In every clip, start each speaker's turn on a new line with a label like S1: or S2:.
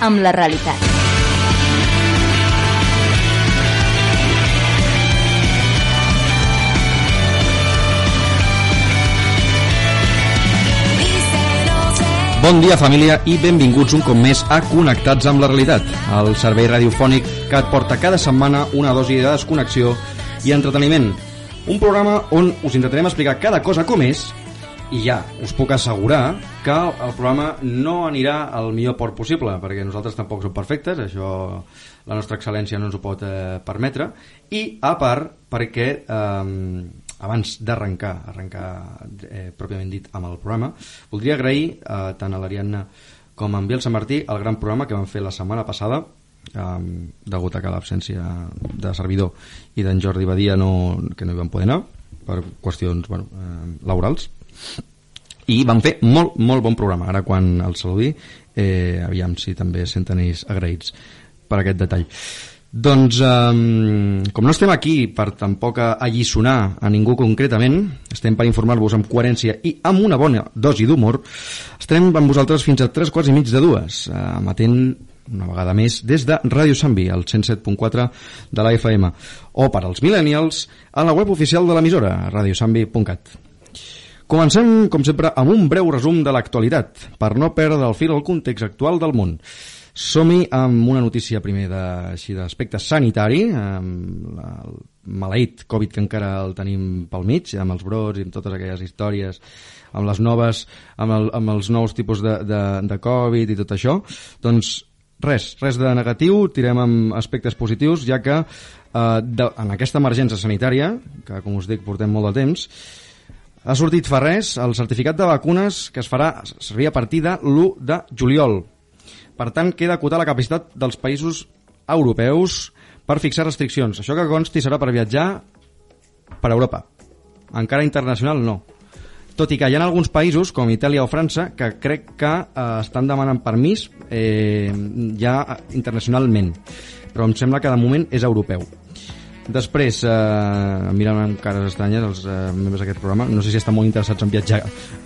S1: amb la realitat.
S2: Bon dia, família, i benvinguts un cop més a Connectats amb la Realitat, el servei radiofònic que et porta cada setmana una dosi de desconnexió i entreteniment. Un programa on us intentarem explicar cada cosa com és i ja us puc assegurar que el programa no anirà al millor port possible, perquè nosaltres tampoc som perfectes, això la nostra excel·lència no ens ho pot eh, permetre, i a part perquè eh, abans d'arrencar, arrencar eh, pròpiament dit amb el programa, voldria agrair eh, tant a l'Ariadna com a en Biel Sant Martí el gran programa que van fer la setmana passada eh, degut a que l'absència de servidor i d'en Jordi Badia no, que no hi van poder anar per qüestions bueno, eh, laborals i van fer molt, molt bon programa ara quan el saludi eh, aviam si també senten ells agraïts per aquest detall doncs, eh, com no estem aquí per tampoc a allisonar a ningú concretament, estem per informar-vos amb coherència i amb una bona dosi d'humor, estem amb vosaltres fins a tres quarts i mig de dues, eh, amatent una vegada més des de Ràdio Sambi, al 107.4 de la FM, o per als millennials a la web oficial de l'emissora, radiosambi.cat. Comencem, com sempre, amb un breu resum de l'actualitat, per no perdre el fil al context actual del món. Som-hi amb una notícia primer de, així d'aspecte sanitari, amb la, el maleït Covid que encara el tenim pel mig, amb els brots i amb totes aquelles històries, amb les noves, amb, el, amb els nous tipus de, de, de Covid i tot això, doncs res, res de negatiu, tirem amb aspectes positius, ja que eh, de, en aquesta emergència sanitària, que com us dic portem molt de temps, ha sortit fa res el certificat de vacunes que es farà servir a partir de l'1 de juliol. Per tant, queda acotar la capacitat dels països europeus per fixar restriccions. Això que consti serà per viatjar per Europa. Encara internacional no. Tot i que hi ha alguns països, com Itàlia o França, que crec que eh, estan demanant permís eh, ja internacionalment. Però em sembla que de moment és europeu. Després, eh, mirant amb cares estranyes els eh, membres d'aquest programa, no sé si estan molt interessats en viatjar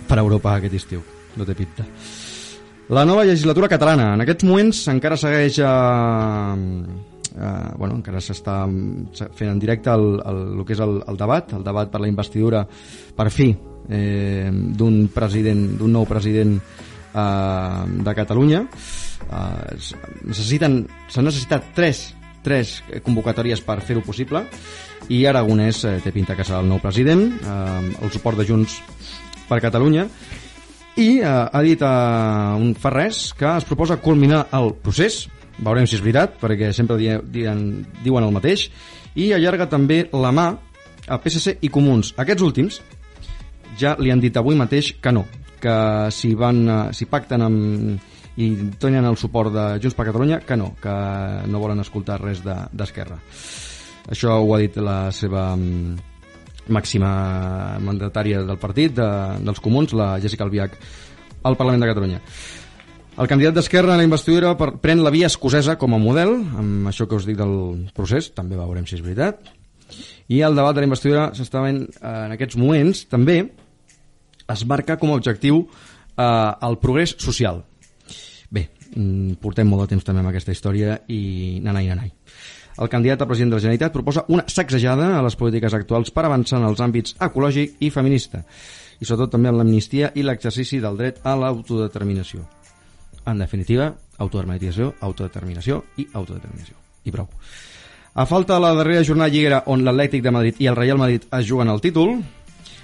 S2: per Europa aquest estiu. No té pinta. La nova legislatura catalana. En aquests moments encara segueix... Eh, eh, bueno, encara s'està mm, fent en directe el, el, el que és el, el debat, el debat per la investidura, per fi, eh, d'un president, d'un nou president eh, de Catalunya. Eh, es- necessiten, s'han necessitat tres, tres convocatòries per fer-ho possible i Aragonès eh, té pinta que serà el nou president, eh, el suport de Junts per Catalunya i eh, ha dit eh, un fa res que es proposa culminar el procés veurem si és veritat perquè sempre die, dien, diuen el mateix i allarga també la mà a PSC i Comuns aquests últims ja li han dit avui mateix que no que si, van, eh, si pacten amb, i donen el suport de Junts per Catalunya que no, que no volen escoltar res de- d'Esquerra de, això ho ha dit la seva mm, màxima mandatària del partit, de, dels comuns, la Jessica Albiach, al Parlament de Catalunya. El candidat d'Esquerra a la investidura per, pren la via escocesa com a model, amb això que us dic del procés, també veurem si és veritat. I el debat de la investidura s'està fent eh, en aquests moments, també es marca com a objectiu eh, el progrés social. Bé, mm, portem molt de temps també amb aquesta història i nanai, nanai. El candidat a president de la Generalitat proposa una sacsejada a les polítiques actuals per avançar en els àmbits ecològic i feminista, i sobretot també en l'amnistia i l'exercici del dret a l'autodeterminació. En definitiva, autodeterminació, autodeterminació i autodeterminació. I prou. A falta de la darrera jornada lliguera on l'Atlètic de Madrid i el Real Madrid es juguen el títol,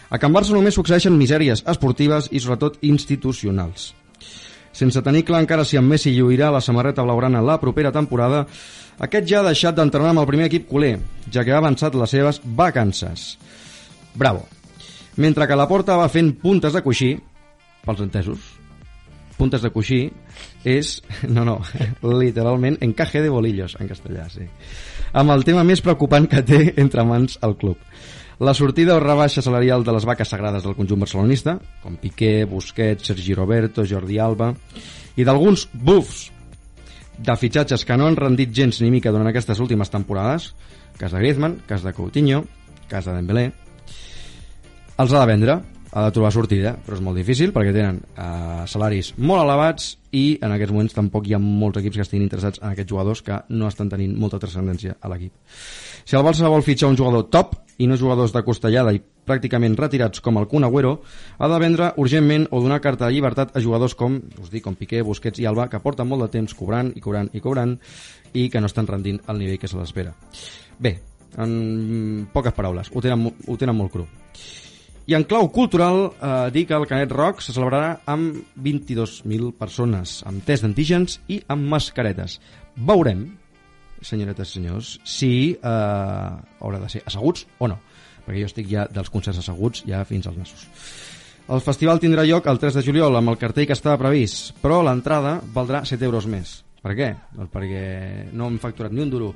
S2: a Can Barça només succeeixen misèries esportives i sobretot institucionals. Sense tenir clar encara si en Messi lluirà la samarreta blaugrana la propera temporada, aquest ja ha deixat d'entrenar amb el primer equip culer, ja que ha avançat les seves vacances. Bravo. Mentre que la porta va fent puntes de coixí, pels entesos, puntes de coixí és, no, no, literalment encaje de bolillos, en castellà, sí. Amb el tema més preocupant que té entre mans el club. La sortida o rebaixa salarial de les vaques sagrades del conjunt barcelonista, com Piqué, Busquets, Sergi Roberto, Jordi Alba, i d'alguns bufs de fitxatges que no han rendit gens ni mica durant aquestes últimes temporades, cas de Griezmann, cas de Coutinho, cas de Dembélé, els ha de vendre ha de trobar sortida, però és molt difícil perquè tenen eh, salaris molt elevats i en aquests moments tampoc hi ha molts equips que estiguin interessats en aquests jugadors que no estan tenint molta transcendència a l'equip. Si el Barça vol fitxar un jugador top i no jugadors de costellada i pràcticament retirats com el Kun Agüero, ha de vendre urgentment o donar carta de llibertat a jugadors com, us dic, com Piqué, Busquets i Alba, que porten molt de temps cobrant i cobrant i cobrant i que no estan rendint al nivell que se l'espera. Bé, en poques paraules, ho tenen, mo- ho tenen molt cru. I en clau cultural, eh, dir que el Canet Rock se celebrarà amb 22.000 persones, amb test d'antígens i amb mascaretes. Veurem, senyoretes i senyors, si eh, haurà de ser asseguts o no, perquè jo estic ja dels concerts asseguts ja fins als nassos. El festival tindrà lloc el 3 de juliol amb el cartell que estava previst, però l'entrada valdrà 7 euros més. Per què? Doncs perquè no hem facturat ni un duro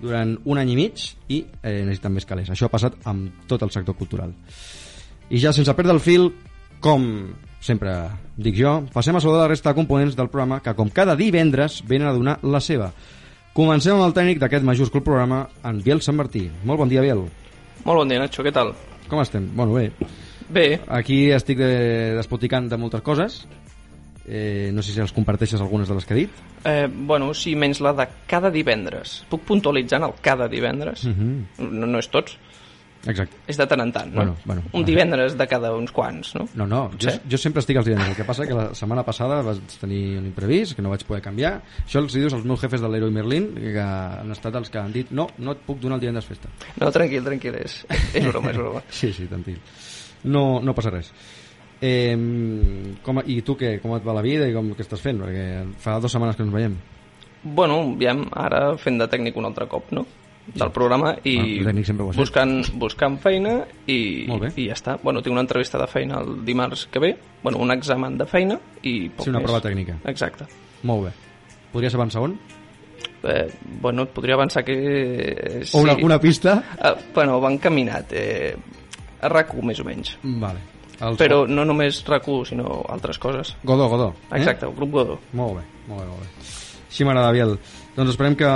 S2: durant un any i mig i eh, necessiten més calés. Això ha passat amb tot el sector cultural. I ja sense perdre el fil, com sempre dic jo, passem a saludar la resta de components del programa que com cada divendres venen a donar la seva. Comencem amb el tècnic d'aquest majúscul programa, en Biel Sant Martí. Molt bon dia, Biel.
S1: Molt bon dia, Nacho, què tal?
S2: Com estem? Bueno, bé,
S1: Bé,
S2: aquí estic de, despoticant de moltes coses. Eh, no sé si els comparteixes algunes de les que he dit.
S1: eh, bueno, sí, menys la de cada divendres. Puc puntualitzar en el cada divendres?
S2: Mhm.
S1: no, no és tots,
S2: Exacte.
S1: és de tant en tant, no?
S2: Bueno, bueno,
S1: Un
S2: bueno.
S1: divendres de cada uns quants, no?
S2: No, no, jo,
S1: Potser.
S2: jo sempre estic als divendres. El que passa que la setmana passada vaig tenir un imprevist, que no vaig poder canviar. Això els dius als meus jefes de l'Heroi Merlin, que han estat els que han dit no, no et puc donar el divendres festa.
S1: No, tranquil, tranquil, és, és broma, és broma.
S2: Sí, sí, tranquil. No, no passa res. Eh, com, I tu què? Com et va la vida i com què estàs fent? Perquè fa dues setmanes que ens veiem.
S1: Bueno, aviam, ara fent de tècnic un altre cop, no? Del programa i
S2: Bueno, tècnic sempre ho has fet.
S1: buscant, buscant feina i,
S2: Molt bé.
S1: i ja està. Bueno, tinc una entrevista de feina el dimarts que ve, bueno, un examen de feina i poc
S2: Sí, una
S1: més.
S2: prova tècnica.
S1: Exacte.
S2: Molt bé. Podries avançar on?
S1: Eh, bueno, et podria avançar que... eh,
S2: O una, una pista?
S1: Eh, bueno, van caminat. Eh, a RAC1, més o menys.
S2: Vale. Els
S1: Però no només RAC1, sinó altres coses.
S2: Godó, Godó. eh?
S1: Exacte, el grup Godó.
S2: Molt bé, molt bé, molt bé. Així m'agrada, Biel. Doncs esperem que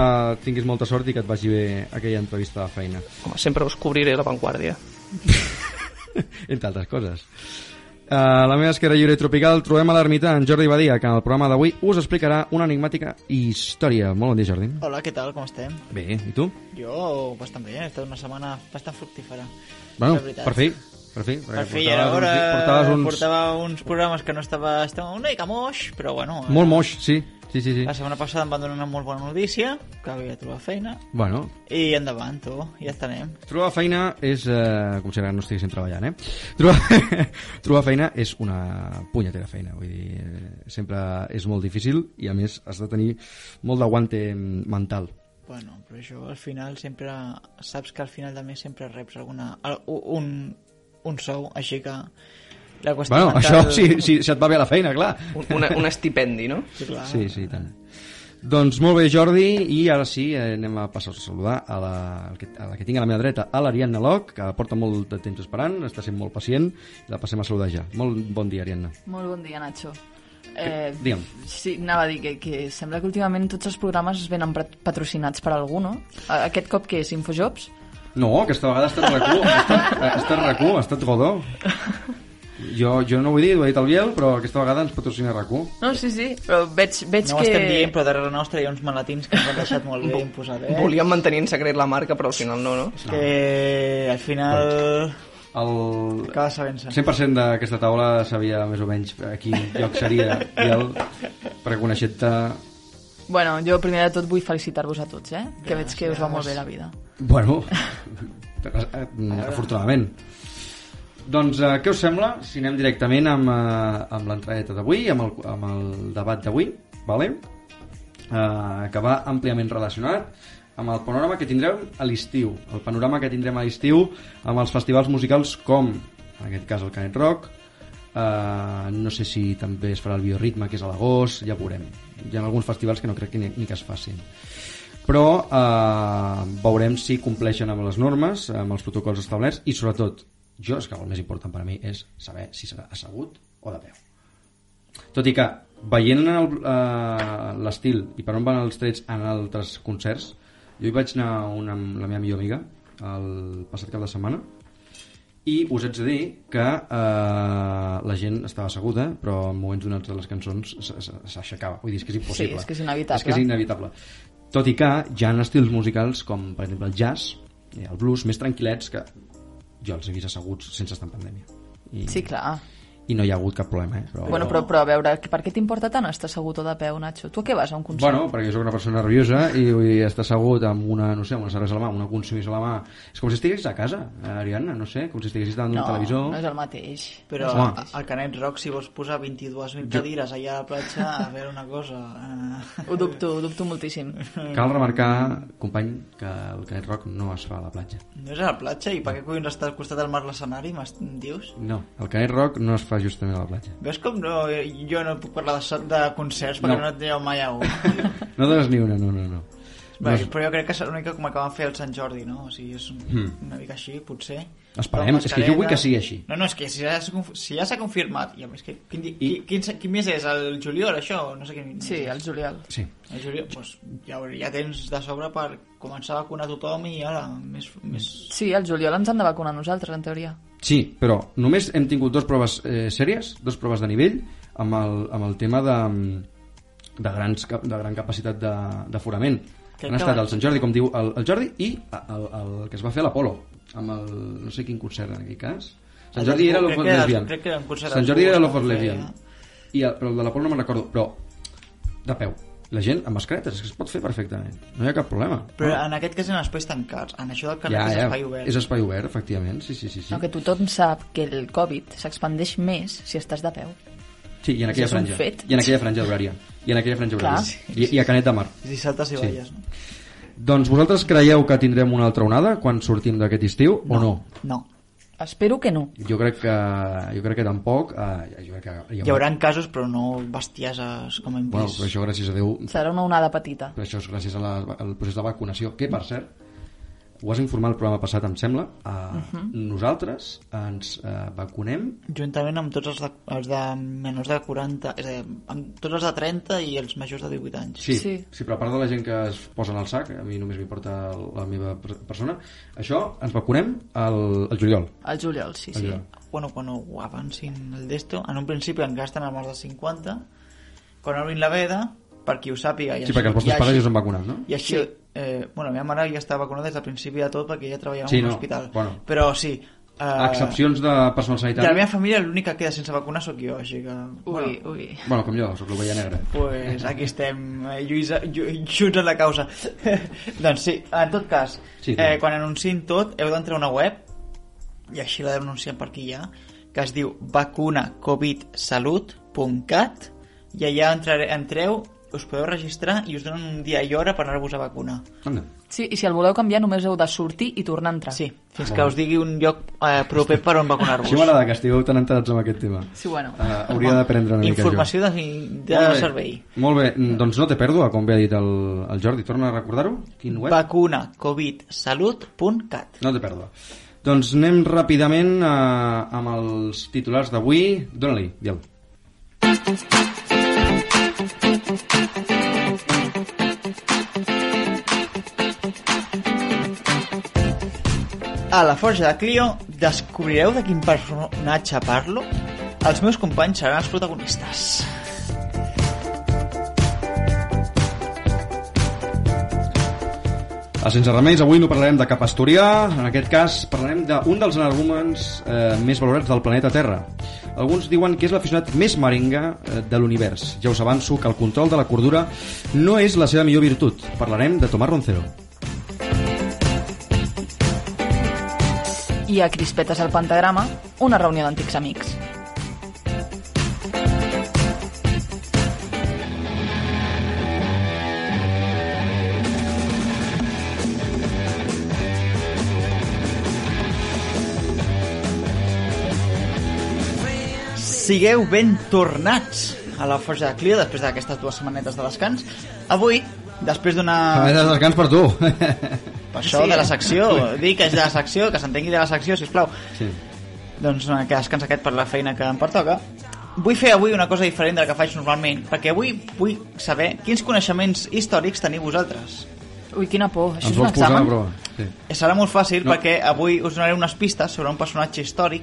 S2: tinguis molta sort i que et vagi bé aquella entrevista de feina,
S1: Home, sempre us cobriré la vanguardia.
S2: entre altres coses. A la meva esquerra lliure i tropical trobem a l'ermità en Jordi Badia, que en el programa d'avui us explicarà una enigmàtica història. Molt bon dia, Jordi.
S3: Hola, què tal? Com estem?
S2: Bé, i tu?
S3: Jo bastant bé, ha estat una setmana bastant fructífera.
S2: Bueno,
S3: la veritat.
S2: per fi, per fi.
S3: Per
S2: perquè
S3: fi,
S2: portaves
S3: ara
S2: uns-
S3: portaves
S2: portaves
S3: uns...
S2: uns...
S3: portava uns programes que no estava... Estava una mica moix, però bueno... eh,
S2: Molt moix, sí. Sí, sí, sí.
S3: La setmana passada em van donar una molt bona notícia, que havia trobat feina,
S2: Bueno,
S3: i endavant, tu, ja estarem.
S2: Trobar feina és... Eh, com si ara no estiguéssim treballant, eh? Trobar, trobar feina és una punyetera feina. Vull dir, eh, sempre és molt difícil i, a més, has de tenir molt d'aguante mental.
S3: Bueno, però això al final sempre... Saps que al final de mes sempre reps alguna... al- un, un sou, així que... La qüestió
S2: bueno,
S3: mental...
S2: això sí, sí, si et va bé la feina, clar.
S1: Un, una, un estipendi, no?
S3: Sí, clar.
S2: Sí, sí, i tant. Doncs molt bé, Jordi, i ara sí, eh, anem a passar a saludar a la, al que, a la que tinc a la meva dreta, a l'Ariadna Loc, que porta molt de temps esperant, està sent molt pacient, la passem a saludar ja. Molt bon dia, Ariadna.
S4: Molt bon dia, Nacho. Eh,
S2: digue'm.
S4: Sí, anava a dir que, que sembla que últimament tots els programes venen pat- patrocinats per algú, no? A- Aquest cop que és Infojobs?
S2: No, aquesta vegada ha estat RAC1, ha estat, ha estat RAC1, ha estat Godó. Jo, jo no ho he dit, ho ha dit el Biel, però aquesta vegada ens patrocina RAC1.
S4: No, sí, sí, però veig, veig
S3: No ho
S4: que...
S3: estem dient, però darrere nostre hi ha uns maletins que ens han deixat molt bé imposat, eh?
S1: Volíem mantenir en secret la marca, però al final no, no?
S3: És que al final
S2: El
S3: acaba sabent-se.
S2: 100% d'aquesta taula sabia més o menys a quin lloc seria Biel per conèixer-te...
S4: Bueno, jo primer de tot vull felicitar-vos a tots, eh? Que veig que us va molt bé la vida.
S2: Bueno, eh, afortunadament. Doncs eh, què us sembla si anem directament amb, eh, amb l'entradeta d'avui, amb, el, amb el debat d'avui, vale? eh, que va àmpliament relacionat amb el panorama que tindrem a l'estiu. El panorama que tindrem a l'estiu amb els festivals musicals com, en aquest cas, el Canet Rock, eh, no sé si també es farà el Biorritme, que és a l'agost, ja ho veurem. Hi ha alguns festivals que no crec que ni, ni que es facin però eh, veurem si compleixen amb les normes, amb els protocols establerts i sobretot, jo és que el més important per a mi és saber si serà assegut o de peu. Tot i que veient en el, eh, l'estil i per on van els trets en altres concerts, jo hi vaig anar una, amb la meva millor amiga el passat cap de setmana i us haig de dir que eh, la gent estava asseguda, però en moments donats de les cançons s- s- s'aixecava. Vull dir, és que és impossible.
S4: Sí, és que és inevitable.
S2: És que és inevitable. Tot i que hi ha estils musicals com, per exemple, el jazz, i el blues, més tranquil·lets, que jo els he vist asseguts sense estar en pandèmia. I,
S4: Sí, clar.
S2: I no hi ha hagut cap problema, eh? Però...
S4: Bueno, però, però a veure, per què t'importa tant estar assegut o de peu, Nacho? Tu a què vas, a un concert?
S2: Bueno, perquè jo sóc una persona nerviosa i vull dir, estar assegut amb una, no sé, amb una cervesa a la mà, amb una consumís a la mà... És com si estiguessis a casa, eh, Ariadna, no sé, com si estiguessis davant d'un
S4: no,
S2: televisor...
S4: no és el mateix.
S3: Però
S2: Home.
S3: a- al Canet Rock, si vols posar 22.000 cadires allà a la platja, a veure una cosa... eh,
S4: Ho dubto, ho dubto moltíssim.
S2: Cal remarcar, company, que el Canet Rock no es fa a la platja.
S3: No és a la platja? I per què collons està al costat del mar l'escenari, m'es- em dius?
S2: No, el Canet Rock no es fa justament a la platja.
S3: Veus com no, jo no puc parlar de, so- de concerts perquè
S2: No.
S3: no, no et direu mai a un.
S2: No dones ni una, no, no, no.
S3: Bé,
S2: No es-
S3: Però jo crec que és l'única com que van fer el Sant Jordi, no? O sigui, és un- una mica així, potser.
S2: Hmm. Esperem,
S3: Però
S2: és que jo vull
S3: mascareta-
S2: que sigui així.
S3: No, no, és que si ja s'ha conf- si ja s'ha confirmat, i a més, que, quin, di- qui, quin, se- quin mes és? El juliol, això? No sé quin...
S4: Sí, al juliol.
S2: Sí.
S3: El juliol, doncs, ja, veuré, ja tens de sobre per començar a vacunar tothom i ara, més... més...
S4: Sí, al juliol ens han de vacunar a nosaltres, en teoria.
S2: Sí, però només hem tingut dues proves eh, sèries, dues proves de nivell, amb el, amb el tema de, de, grans, cap- de gran capacitat de- d'aforament.
S3: Que
S2: Han estat
S3: acaben.
S2: el Sant Jordi, com diu el, el Jordi, i el, el, el que es va fer a l'Apolo, amb el no sé quin concert en aquell cas. Sant
S3: El
S2: Jordi
S3: del-
S2: era
S3: crec
S2: l'Ofot
S3: que era-
S2: Lesbian.
S3: crec que era un concert
S2: Sant
S3: del
S2: Jordi
S3: Bus,
S2: era
S3: no?
S2: l'Ofot
S3: Sí,
S2: Lesbian.
S3: ja.
S2: I el, però el de l'Apolo no me'n recordo, però de peu. La gent amb mascaretes, és que es pot fer perfectament. No hi ha cap problema.
S3: Però en aquest cas en espais tancats, en això del carrer
S2: Ah. ja,
S3: ja, és
S2: ja,
S3: espai obert.
S2: És espai obert, efectivament. Sí, sí, sí. sí.
S4: No, que tothom sap que el Covid s'expandeix més si estàs de peu.
S2: Sí, i en aquella
S4: És un
S2: franja.
S4: fet.
S2: I en aquella franja horària. I en aquella franja
S4: Clar.
S2: horària. I, I a Canet de Mar.
S3: Si saltes i
S2: Sí.
S3: balles, no?
S2: Doncs vosaltres creieu que tindrem una altra onada quan sortim d'aquest estiu no. o no?
S3: No.
S4: Espero que no.
S2: Jo crec que, jo crec que tampoc. Eh, jo crec que hi
S3: Hi haurà casos, però no bestieses com hem
S2: Bueno,
S3: vist.
S2: però això gràcies a Déu,
S4: Serà una onada petita.
S2: però això és gràcies a la, al procés de vacunació, que per cert, ho has informat el programa passat, em sembla, eh,
S4: Mhm.
S2: nosaltres ens eh, vacunem
S3: Juntament amb tots els de, els de menors de 40, és a dir, amb tots els de 30 i els majors de 18 anys.
S2: Sí, sí.
S4: Sí.
S2: sí, però a part de la gent que es posa en el sac, a mi només m'importa la meva per- persona, això ens vacunem al, al juliol.
S4: Al juliol, sí,
S2: Al
S4: sí.
S2: juliol.
S3: Bueno, quan ho avancin el d'esto, en un principi en gasten el més de 50, quan obrin la veda, per qui ho sàpiga... I
S2: Sí, perquè els vostres pares ja us han vacunat, no?
S3: I així, eh, bueno, la meva mare ja estava vacunada des del principi de tot perquè ja treballava
S2: Sí,
S3: en un
S2: no,
S3: hospital.
S2: bueno.
S3: Però sí... Eh,
S2: A excepcions de personal
S3: De la
S2: sanitari...
S3: meva família l'única que queda sense vacunar sóc jo, així que...
S4: Ui, ui.
S2: Bueno, com jo, soc l'ovella negra.
S3: Pues aquí estem, eh, Lluïsa, Llu- junts en la causa. doncs sí, en tot cas,
S2: Sí,
S3: sí,
S2: clar.
S3: eh, quan anunciïn tot, heu d'entrar a una web, i així la denunciem per aquí ja, que es diu vacunacovidsalut.cat, i allà entrare, entreu, us podeu registrar i us donen un dia i hora per anar-vos a vacunar.
S2: Anda.
S4: Sí, i si el voleu canviar només heu de sortir i tornar a entrar.
S3: Sí, fins que us digui un lloc eh, proper per on vacunar-vos.
S2: Això m'agrada que estigueu tan enterats amb aquest tema.
S4: Sí, bueno.
S2: Uh, hauria d'aprendre una mica
S3: Informació de,
S2: jo.
S3: de servei.
S2: Molt bé, Mm, doncs no té pèrdua, com bé ha dit el, el Jordi. Torna a recordar-ho? Quin web?
S3: vacunacovidsalut.cat
S2: No té pèrdua. Doncs anem ràpidament uh, amb els titulars d'avui. Dóna-li, dieu.
S3: A la Forja de Clio descobrireu de quin personatge parlo? Els meus companys seran els protagonistes.
S2: A Sense Remeis avui no parlarem de cap asturià, en aquest cas parlarem d'un dels energúmens eh, més valorats del planeta Terra. Alguns diuen que és l'aficionat més maringa eh, de l'univers. Ja us avanço que el control de la cordura no és la seva millor virtut. Parlarem de Tomàs Roncero.
S4: I a Crispetes al Pentagrama, una reunió d'antics amics.
S3: Sigueu ben tornats a la Forja de Clio després d'aquestes dues setmanetes de descans. Avui, després d'una...
S2: Ah. Descans per tu.
S3: Per això
S4: Sí.
S3: de la secció, dic que és de la secció, que s'entengui de la secció, si plau.
S2: sí.
S3: Doncs eh, que descans aquest per la feina que em pertoca. Vull fer avui una cosa diferent de la que faig normalment, perquè avui vull saber quins coneixements històrics teniu vosaltres. Eh,
S4: Ui, quina por. Això
S2: Ens
S4: és un
S2: vols posar a
S4: examen?
S2: prova? Sí.
S3: Serà molt fàcil
S2: No.
S3: no. perquè avui us donaré unes pistes sobre un personatge històric,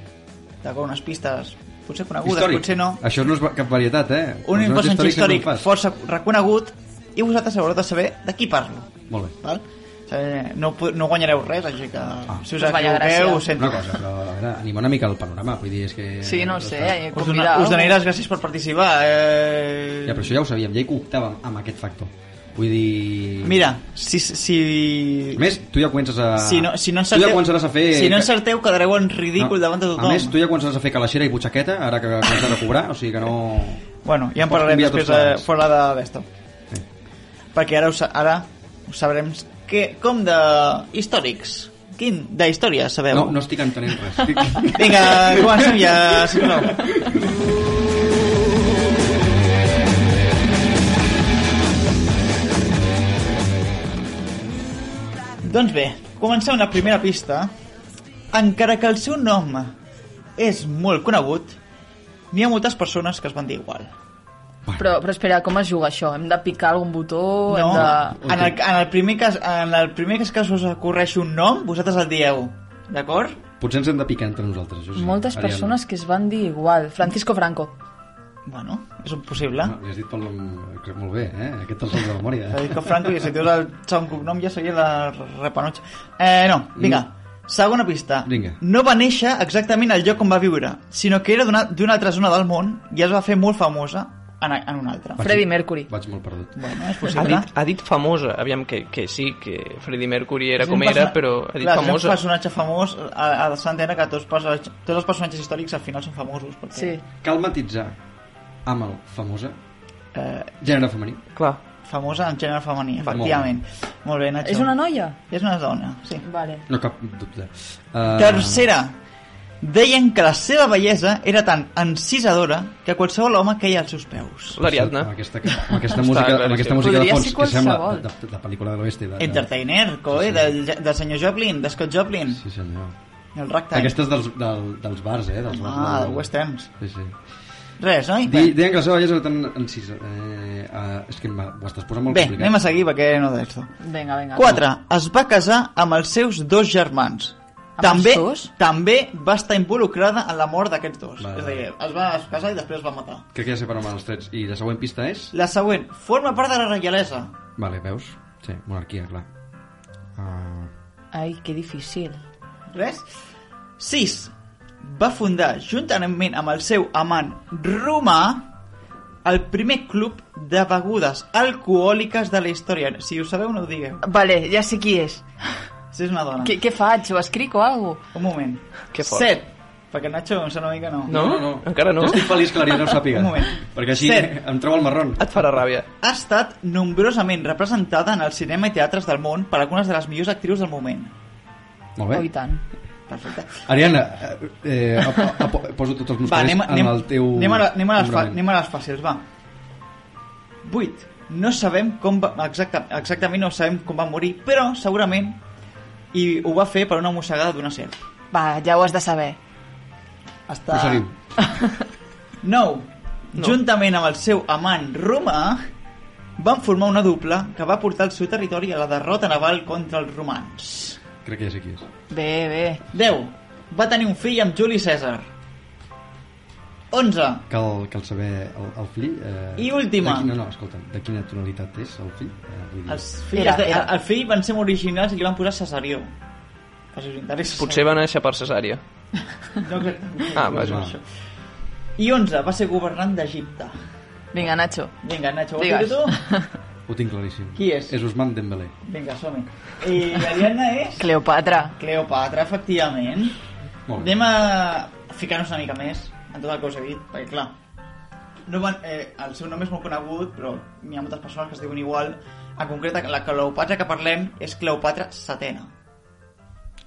S3: d'acord? Unes pistes potser conegudes,
S2: Històric.
S3: potser no.
S2: Això no és va- cap varietat, eh?
S3: Un
S2: Personatge
S3: personatge històric
S2: sempre en fas.
S3: força reconegut i vosaltres haureu de saber de qui parlo.
S2: Molt bé.
S3: Val? Eh, No, pu- no guanyareu res, així que si us
S4: Doncs vaya gràcia.
S3: equivoqueu, ho sento.
S2: Ah. Una cosa, però a veure, anima una mica el panorama, vull dir, és que...
S4: Sí, no ho sé, eh,
S3: Us,
S4: convidar...
S3: dona, us donaré les gràcies per participar. Eh...
S2: Ja, però això ja ho sabíem, ja hi comptàvem amb aquest factor. Vull dir...
S3: Mira, si... si...
S2: A més, tu ja comences a...
S3: Si no, si no
S2: tu
S3: encerteu,
S2: ja començaràs a fer...
S3: si no encerteu quedareu en ridícul davant de tothom.
S2: A més, tu ja començaràs a fer calaixera i butxaqueta, ara que comences a cobrar, o sigui que no...
S3: Bueno, ja en
S2: Pots
S3: parlarem
S2: canviar tots
S3: després eh,
S2: plans.
S3: fora de d'esto.
S2: Sí.
S3: Perquè ara ho, sa- ara ho sabrem que, com de històrics. Quin de història sabeu?
S2: No, no estic entenent res. Estic...
S3: Vinga, comencem ja, sisplau. doncs bé, comencem amb la primera pista. Encara que el seu nom és molt conegut, n'hi ha moltes persones que es van dir igual.
S4: Però, però espera, com es juga això? Hem de picar algun botó?
S3: No,
S4: Hem de...
S3: en, el, en, el primer cas, en el primer cas que us acorreixi un nom, vosaltres el dieu, d'acord?
S2: Potser ens hem de picar entre nosaltres, això sí.
S4: Moltes
S2: Ariadna.
S4: persones que es van dir igual. Francisco Franco.
S3: Bueno, és un possible.
S2: No, li has dit pel nom, crec molt bé, eh? Aquest te'l saps de memòria. eh?
S3: Federico Franco, i si dius el segon cognom ja seria la repanotxa. Eh, no, vinga. Segona pista.
S2: Vinga.
S3: No va néixer exactament al lloc on va viure, sinó que era d'una d'una altra zona del món i es va fer molt famosa en, en una altra.
S2: Vaig-
S4: Freddie Mercury.
S2: Vaig molt perdut.
S3: Bueno, és
S1: Ha
S3: possible.
S1: dit, ha dit famosa, aviam que, que sí, que Freddie Mercury era
S3: És un
S1: com era,
S3: persona-
S1: però ha dit
S3: Clar, és
S1: famosa.
S3: un personatge famós, a, a la Santena, que tots, perso- tots els personatges històrics al final són famosos. Perquè,
S4: Sí.
S2: Cal matitzar amb el famosa
S3: Eh,
S2: gènere femení.
S1: Clar,
S3: famosa en gènere femení, efectivament. Molt bé, Nacho.
S4: És una noia?
S3: És una dona, sí.
S4: Vale.
S2: No cap dubte. Uh,
S3: Tercera. Deien que la seva bellesa era tan encisadora que qualsevol home queia als seus peus.
S1: l'Ariadna.
S2: Amb aquesta, amb aquesta música, amb aquesta
S1: claríssim.
S2: música de
S4: Podria
S2: fons
S4: ser
S2: que sembla
S4: qualsevol.
S2: de, de, de pel·lícula de l'oest. De, de-
S3: Entertainer, coi, del, del senyor Joplin, de Scott Joplin,
S2: Sí, senyor.
S3: el ragtime.
S2: Aquesta és dels, del, dels bars, eh? Dels bars
S3: Ah, del West End.
S2: Sí, sí.
S3: Res, oi?
S2: Di, deien que la seva bellesa era tan encisa. Eh, eh, és que m'ha- ho estàs posant molt
S3: Bé,
S2: complicat.
S3: anem a seguir perquè no d'esto.
S4: Vinga, vinga.
S3: 4. Es va casar amb els seus dos germans.
S4: Amb
S3: també,
S4: els dos?
S3: també va estar involucrada en la mort d'aquests dos.
S2: Vale.
S3: És a dir, es va casar i després es va matar.
S2: Crec que ja sé per on van els trets. I la següent pista és...
S3: La següent, forma part de la reialesa.
S2: Vale, veus? Sí, monarquia, clar. Uh,
S4: Ai, que difícil.
S3: Res? 6. Va fundar, juntament amb el seu amant romà, el primer club de begudes alcohòliques de la història. Si ho sabeu, no ho digueu.
S4: Vale, ja sé qui és.
S3: Si és una dona.
S4: Què, què faig? Ho escric o alguna cosa?
S3: Un moment.
S1: Que fort.
S3: 7. Perquè el Nacho em sembla que no.
S1: No? Encara no?
S2: Jo estic feliç que l'Ariadna ho sàpiga.
S3: Un moment.
S2: Perquè així
S3: Set.
S2: em treu el marrón.
S1: Et farà ràbia.
S3: Ha estat nombrosament representada en el cinema i teatres del món per algunes de les millors actrius del moment. Ah,
S2: Molt
S4: Oh, i
S2: bé.
S4: tant.
S3: Perfecte.
S2: Ariadna, eh, eh, a- a- a- poso tots els meus
S3: Va, anem,
S2: calés
S3: anem,
S2: en el teu...
S3: anem, a, la- anem, a les fa,
S2: nombrament.
S3: anem a les fàcils, va. 8. No sabem com va, exacta, exactament no sabem com va morir, però segurament i ho va fer per una mossegada d'una serp.
S4: Va, ja ho has de saber.
S3: Està...
S2: Procedim.
S3: 9. Juntament amb el seu amant romà, van formar una dupla que va portar el seu territori a la derrota naval contra els romans.
S2: Crec que ja sé qui és.
S4: Bé, bé.
S3: 10. Va tenir un fill amb Juli César. 11.
S2: Cal, cal saber el, el fill... Eh,
S3: I última.
S2: de qui- no, no, escolta, de quina tonalitat és el fill? Eh, vull dir,
S3: Els fills,
S4: Era,
S3: era, era.
S4: era.
S3: El, el fill van ser originals i li van posar Cesarió. Per si us interessa.
S1: Potser va néixer per cesària.
S3: No, exactament.
S1: Ah, vaja.
S2: Ah.
S3: I 11, va ser governant d'Egipte.
S4: Vinga, Nacho.
S3: Vinga, Nacho, vols dir
S4: Digues.
S3: tu?
S2: Ho tinc claríssim.
S3: Qui és?
S2: És Usman Dembélé.
S3: Vinga, som-hi. I l'Ariadna és...
S4: Cleopatra.
S3: Cleopatra, efectivament.
S2: Molt bé.
S3: Anem a ficar-nos una mica més en tot el que us he dit, perquè clar, no van, eh, el seu nom és molt conegut, però n'hi ha moltes persones que es diuen igual. En concret, la Cleopatra que parlem és Cleopatra Setena.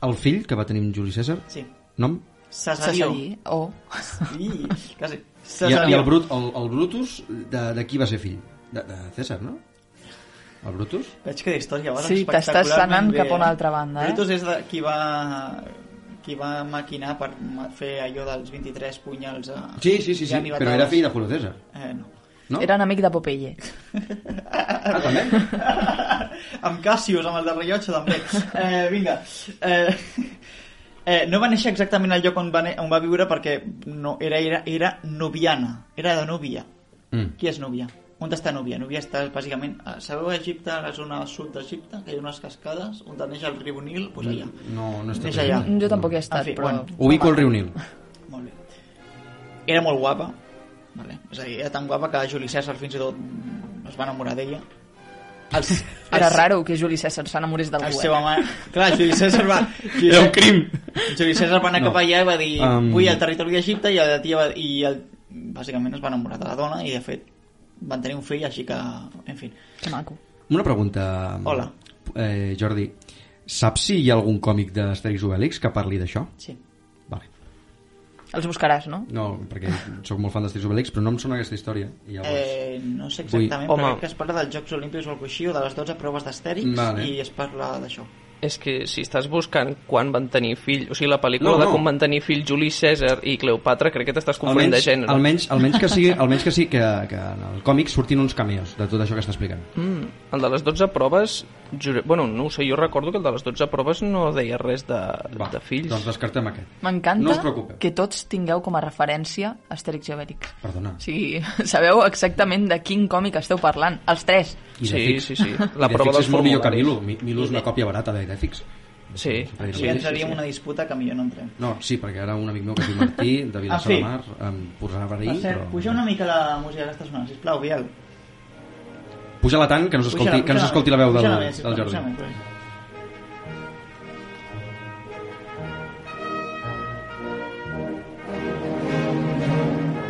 S2: El fill que va tenir amb Juli César,
S3: Sí.
S2: nom?
S3: Cesarió.
S4: Cesari. O...
S3: Sí, quasi.
S2: I,
S3: Cesarió.
S2: I el, Brut, el, el Brutus, de, de qui va ser fill? De, de César, no? El Brutus?
S3: Veig que d'història vas
S4: Sí, t'estàs
S3: espectacularment
S4: anant
S3: bé,
S4: cap a una
S3: eh?
S4: altra banda, eh?
S3: Brutus és de, qui va qui va maquinar per ma- fer allò dels 23 punyals a...
S2: Sí, sí, sí, sí,
S3: i
S2: però
S3: anivetades.
S2: era fill de Julio César.
S3: Eh, no.
S2: No?
S4: Era enemic de Popeye.
S2: Ah, també?
S3: amb Cassius, amb el de rellotge també eh, vinga eh, eh, no va néixer exactament al lloc on va, ne- on va viure perquè no, era, era, era nubiana era de Núbia
S2: Mm.
S3: qui és Núbia? On està Núbia? Núbia està bàsicament... eh, Sabeu Egipte, la zona sud d'Egipte, que hi ha unes cascades, on neix el riu Nil? Doncs allà.
S2: No, no està
S3: Més allà.
S4: Jo tampoc hi he
S3: En
S4: estat,
S3: fi,
S4: però...
S3: bueno.
S2: Ubico el riu Nil.
S3: Molt bé. Era molt guapa. Vale. És a dir, era tan guapa que Juli César fins i tot mm, es va enamorar d'ella. Els,
S4: Era
S3: els-
S4: raro que Juli César s'enamorés
S3: El
S4: d'algú.
S3: seu
S4: Eh?
S3: amant... Clar, Juli César va... Juli
S2: Era un crim.
S3: Juli César va anar
S2: No.
S3: cap allà i va dir...
S2: Um,
S3: Vull al territori d'Egipte i la tia va... I el... bàsicament es va enamorar de la dona i de fet van tenir un fill, així que... En fi.
S4: Que maco.
S2: Una pregunta.
S3: Hola.
S2: Eh, Jordi, saps si hi ha algun còmic d'Asterix Obélix que parli d'això?
S3: Sí.
S2: Vale.
S4: Els buscaràs, no?
S2: No, perquè sóc molt fan d'Asterix Obélix, però no em sona aquesta història. I llavors...
S3: Eh, no sé
S2: Vull-
S3: exactament,
S1: Home.
S3: però crec que es parla dels Jocs Olímpics o alguna cosa així, o de les 12 proves d'Astèrix,
S2: Vale.
S3: i es parla d'això.
S1: És que si estàs buscant quan van tenir fill, o sigui, la
S2: No,
S1: pel·lícula no, no.
S2: no.
S1: de com van tenir fill Juli César i Cleopatra, crec que t'estàs confonent de gènere.
S2: almenys, almenys que sigui, almenys que, sigui que, que en el còmic surtin uns cameos de tot això que està explicant.
S1: Mm, el de les 12 proves, jure... bueno, no ho sé, jo recordo que el de les 12 proves no deia res de,
S2: Va,
S1: de fills.
S2: Doncs descartem aquest. No
S4: M'encanta
S2: us preocupeu.
S4: que tots tingueu com a referència Astèrix i Obélix.
S2: Perdona.
S4: O sigui, sabeu exactament de quin còmic esteu parlant. Els tres.
S2: I
S1: Sí,
S2: Idefix.
S1: sí, sí. La
S2: Idefix
S1: prova
S2: és
S1: dels
S2: molt millor que Milo.
S1: formularis.
S2: Mi- Milo és una còpia barata d'Idefix.
S1: Sí.
S3: O sigui, entraríem en una disputa que millor no entrem.
S2: No, sí, perquè ara un amic meu que es diu Martí, de Vilassar de
S3: fi.
S2: Mar, em posarà a
S3: Ah, Per
S2: verí,
S3: cert,
S2: però...
S3: puja una mica la música que està sonant, sisplau, Biel.
S2: Puja-la tant que no s'escolti que no s'escolti la veu del,
S3: puja-la bé, sisplau,
S2: del Jordi.
S3: puja-la bé.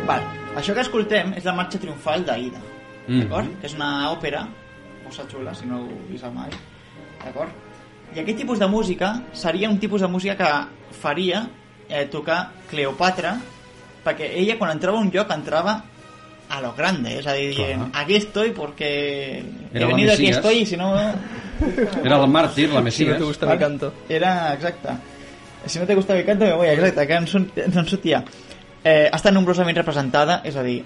S3: Val, això que escoltem és la marxa triomfal d'Aida,
S2: Mhm.
S3: d'acord? Que és una òpera, molt xula, si no ho vist mai, d'acord? I aquest tipus de música seria un tipus de música que faria eh, tocar Cleopatra, perquè ella quan entrava a un lloc entrava a lo grande, és a dir, dient,
S2: Clar.
S3: aquí estoy porque he
S2: Era la
S3: venido aquí
S2: Mesías.
S3: estoy, si no...
S2: Era el màrtir, la
S1: Si no
S2: Messias.
S1: te gusta mi canto.
S3: Era, exacte. Si no te gusta mi canto, me voy, exacte, que ens, ens sortia. Eh, està nombrosament representada, és a dir,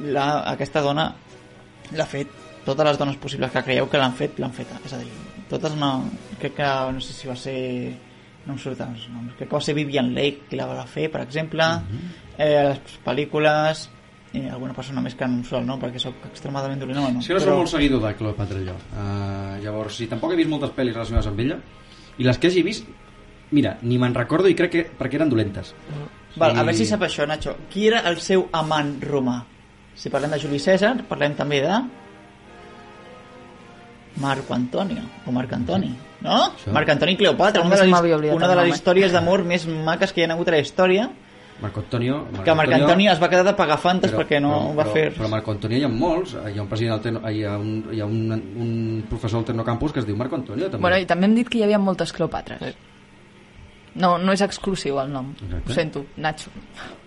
S3: la, aquesta dona l'ha fet totes les dones possibles que creieu que l'han fet, l'han feta. És a dir, totes no... Crec que, no sé si va ser... No em surten els noms. Crec que va ser Vivian Lake qui la va fer, per exemple.
S2: Mhm.
S3: eh, les pel·lícules... Eh, alguna persona més que no em surt el nom, perquè sóc extremadament dolent amb el nom.
S2: És que no soc molt seguidor de Cleopatra jo. Uh, llavors, si tampoc he vist moltes pel·lis relacionades amb ella, i les que hagi vist, mira, ni me'n recordo i crec que perquè eren dolentes.
S3: Val, a
S2: I-
S3: veure si sap això, Nacho. Qui era el seu amant romà? Si parlem de Juli César, parlem també de... Marc Antonio, o Marc Antoni, no?
S2: Això.
S3: Marc Antoni i Cleopatra,
S4: A
S3: una
S4: mi
S3: de
S4: se
S3: les,
S4: m'havia oblidat
S3: una
S4: el
S3: de les
S4: nom, eh?
S3: històries d'amor més maques que hi ha hagut a la història,
S2: Marco Antonio...
S3: que Marc Antoni es va quedar de pagar fantes
S2: però-
S3: perquè no
S2: però-
S3: va
S2: però,
S3: fer...
S2: Però Marco Antonio hi ha molts. Hi ha un president alterno, hi ha un, hi ha un, un professor al Tecnocampus que es diu Marco Antonio, també.
S4: Bueno, i també hem dit que hi havia moltes Cleopatres. No, no és exclusiu el nom.
S2: Exacte.
S4: Ho sento, Nacho.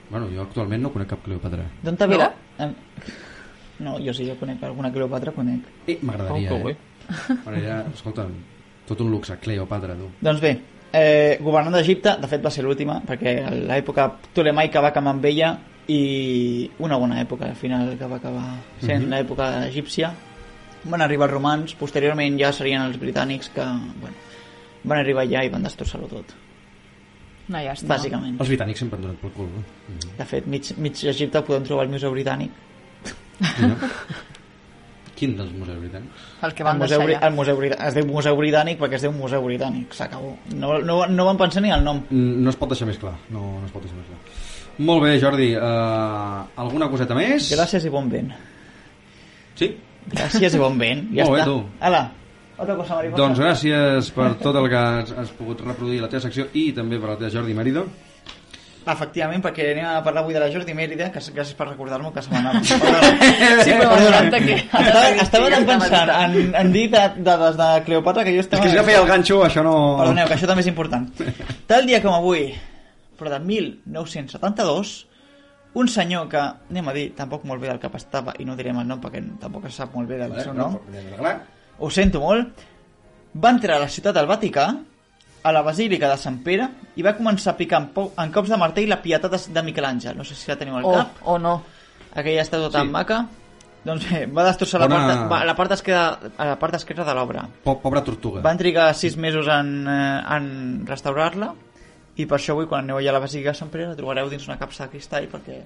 S2: bueno, jo actualment no conec cap Cleopatra.
S3: D'on te ve?
S4: Mira.
S3: Em- No, jo sí, jo conec alguna Cleopatra, conec.
S2: Eh, M'agradaria,
S1: Oh, que
S2: eh? Bueno, ja, escolta, tot un luxe, Cleopatra, tu.
S3: Doncs bé, eh, governant d'Egipte, de fet va ser l'última, perquè a l'època Ptolemaica va acabar amb ella i una bona època, al final, que va acabar sent
S2: Mhm.
S3: l'època egípcia. Van arribar els romans, posteriorment ja serien els britànics que, bueno, van arribar allà i van destrossar-ho tot,
S4: Una llàstima.
S3: bàsicament.
S2: Els britànics sempre han donat pel cul. No? Mm
S3: De fet, mig, mig Egipte ho podem trobar al Museu Britànic.
S2: Quin dels museus britànics?
S4: El que
S3: El
S4: van
S3: Museu,
S4: deixar
S3: Bri-
S4: allà.
S3: el Museu Britànic. Es diu Museu Britànic perquè es diu Museu Britànic, s'acabó. No, no, no van pensar ni al nom.
S2: Mm, No es pot deixar més clar. No, no es pot deixar més clar. Molt bé, Jordi. Uh, alguna coseta més?
S3: Gràcies i bon vent.
S2: Sí?
S3: Gràcies i bon vent. Ja
S2: Molt bé,
S3: està.
S2: tu.
S3: Ala, otra cosa, mariposa.
S2: Doncs gràcies per tot el que has, has pogut reproduir a la teva secció i també per la teva Jordi Marido.
S3: Efectivament, perquè anem a parlar avui de la Jordi Mèrida, que gràcies per recordar-m'ho que setmana. Sí, però
S4: m'encanta que-
S3: Estava, estava tan
S4: Sí,
S3: pensant
S4: m'encanta.
S3: en, en dir de, dades de Cleopatra que jo
S2: És
S3: estava...
S2: que si ja feia el ganxo, això no...
S3: Perdoneu, que això també és important. Tal dia com avui, però de 1972, un senyor que, anem a dir, tampoc molt bé del cap estava, i no direm el nom perquè tampoc es sap molt bé del
S2: Vale,
S3: seu
S2: no,
S3: nom,
S2: no.
S3: ho sento molt, va entrar a la ciutat del Vaticà, a la Basílica de Sant Pere, i va començar a picar en, pou, en cops
S4: Oh.
S3: de martell la pietat de, de Miquel Àngel. No sé si la teniu al
S4: O,
S3: cap.
S4: o no.
S3: Aquella estàtua tan
S2: Sí.
S3: maca. Doncs bé, va destrossar la,
S2: Bona-
S3: part, va, a la part esquerra, a la part esquerra de l'obra.
S2: Po Pobra tortuga.
S3: Van trigar sis mesos en, eh, en restaurar-la i per això avui quan aneu allà a la Basílica de Sant Pere la trobareu dins una capsa de cristall perquè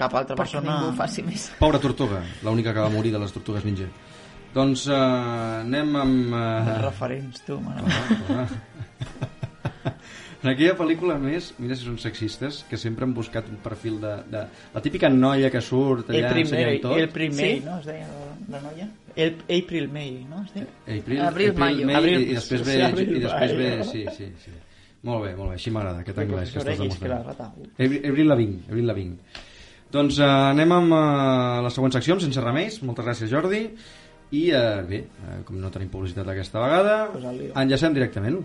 S3: cap altra
S4: perquè
S3: persona...
S4: ningú ho faci més.
S2: Pobra tortuga, l'única que va morir de les tortugues ninja. Doncs eh, anem amb...
S3: Els
S2: Eh...
S3: referents, tu, mare meva.
S2: Ah. En aquella pel·lícula, a més, mira si són sexistes, que sempre han buscat un perfil de... de... La típica noia que surt
S3: El
S2: allà
S3: primer,
S2: ensenyant tot.
S3: el primer,
S4: Sí.
S3: no? Es deia la, la noia? El April May, no? Es deia?
S2: April,
S4: Abril, maio.
S2: May,
S3: Abril,
S2: i, i després ve...
S3: sí, abril,
S2: i després ve
S3: maio.
S2: sí, sí, sí. Molt bé, molt bé, així m'agrada, aquest anglès que estàs
S3: Oreguis, que la
S2: demostrant.
S3: retago.
S2: Abril Abril Lavigne, Abril Lavigne. Doncs eh, anem amb eh, la següent secció, amb sense remeis. Moltes gràcies, Jordi. I eh, bé, eh, com no tenim publicitat aquesta vegada,
S3: Pues al lío.
S2: enllacem directament.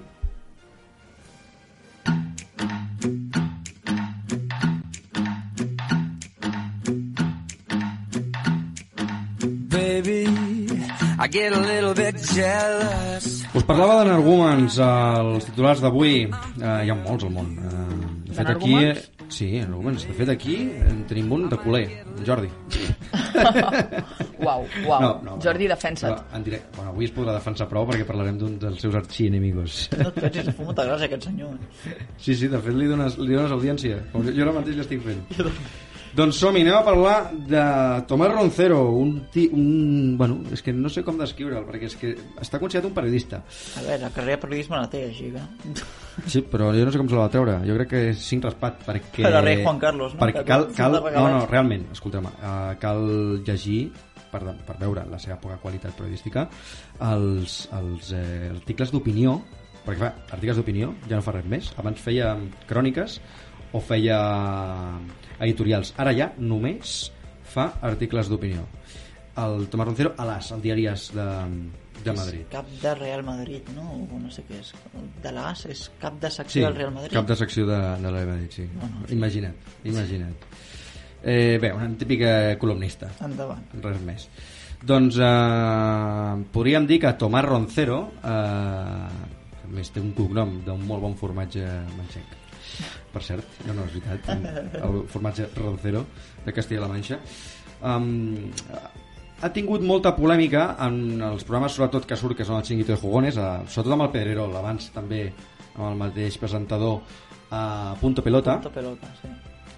S5: Baby, I get a little bit jealous.
S2: Us parlava de Nargumans als titulars d'avui. Eh, hi ha molts al món. Eh, de fet, aquí...
S4: Energúmens?
S2: Sí, Nargumans. De fet, aquí en tenim un de culer, en Jordi.
S4: Uau, uau. Jordi, defensa't.
S2: Però En directe. Bueno, avui es podrà defensar prou perquè parlarem d'un dels seus arxienemigos.
S3: No et pensis, fa molta gràcia aquest senyor. eh?
S2: Sí, sí, de fet li dones, li dones audiència. Com jo- Jo ara mateix l'estic fent. Doncs som-hi, anem a parlar de Tomás Roncero, un, ti, un... Bueno, és que no sé com descriure'l, perquè és que està considerat un periodista.
S3: A veure, la carrera de periodisme la té, així que...
S2: Sí, però jo no sé com se la va treure. Jo crec que és cinc raspat, perquè...
S3: Però rei Juan Carlos, no?
S2: Perquè
S3: Que
S2: cal...
S3: tot
S2: cal no,
S3: de regalat.
S2: no, realment, escolta'm, uh, cal llegir per, de- per veure la seva poca qualitat periodística els, els eh, articles d'opinió perquè fa articles d'opinió ja no fa res més abans feia cròniques o feia eh, editorials ara ja només fa articles d'opinió el Tomás Roncero a l'AS, el diàries de, de Madrid
S3: Cap de Real Madrid, no? O no sé què és. De l'AS és cap de secció
S2: Sí,
S3: del Real Madrid.
S2: cap de secció de, de la Real Madrid, sí. Imagina't, imagina't. Eh, bé, una típica columnista,
S3: Endavant.
S2: res més. Doncs eh, podríem dir que Tomàs Roncero, eh, que a més té un cognom d'un molt bon formatge manxec, per cert, no, no, és veritat, el formatge Roncero de Castilla-La Manxa, um, ha tingut molta polèmica en els programes sobretot que surt, que són el Xinguito de Jugones, eh, sobretot amb el Pedrerol, abans també amb el mateix presentador a Punto Pelota,
S3: Tota pelota, sí.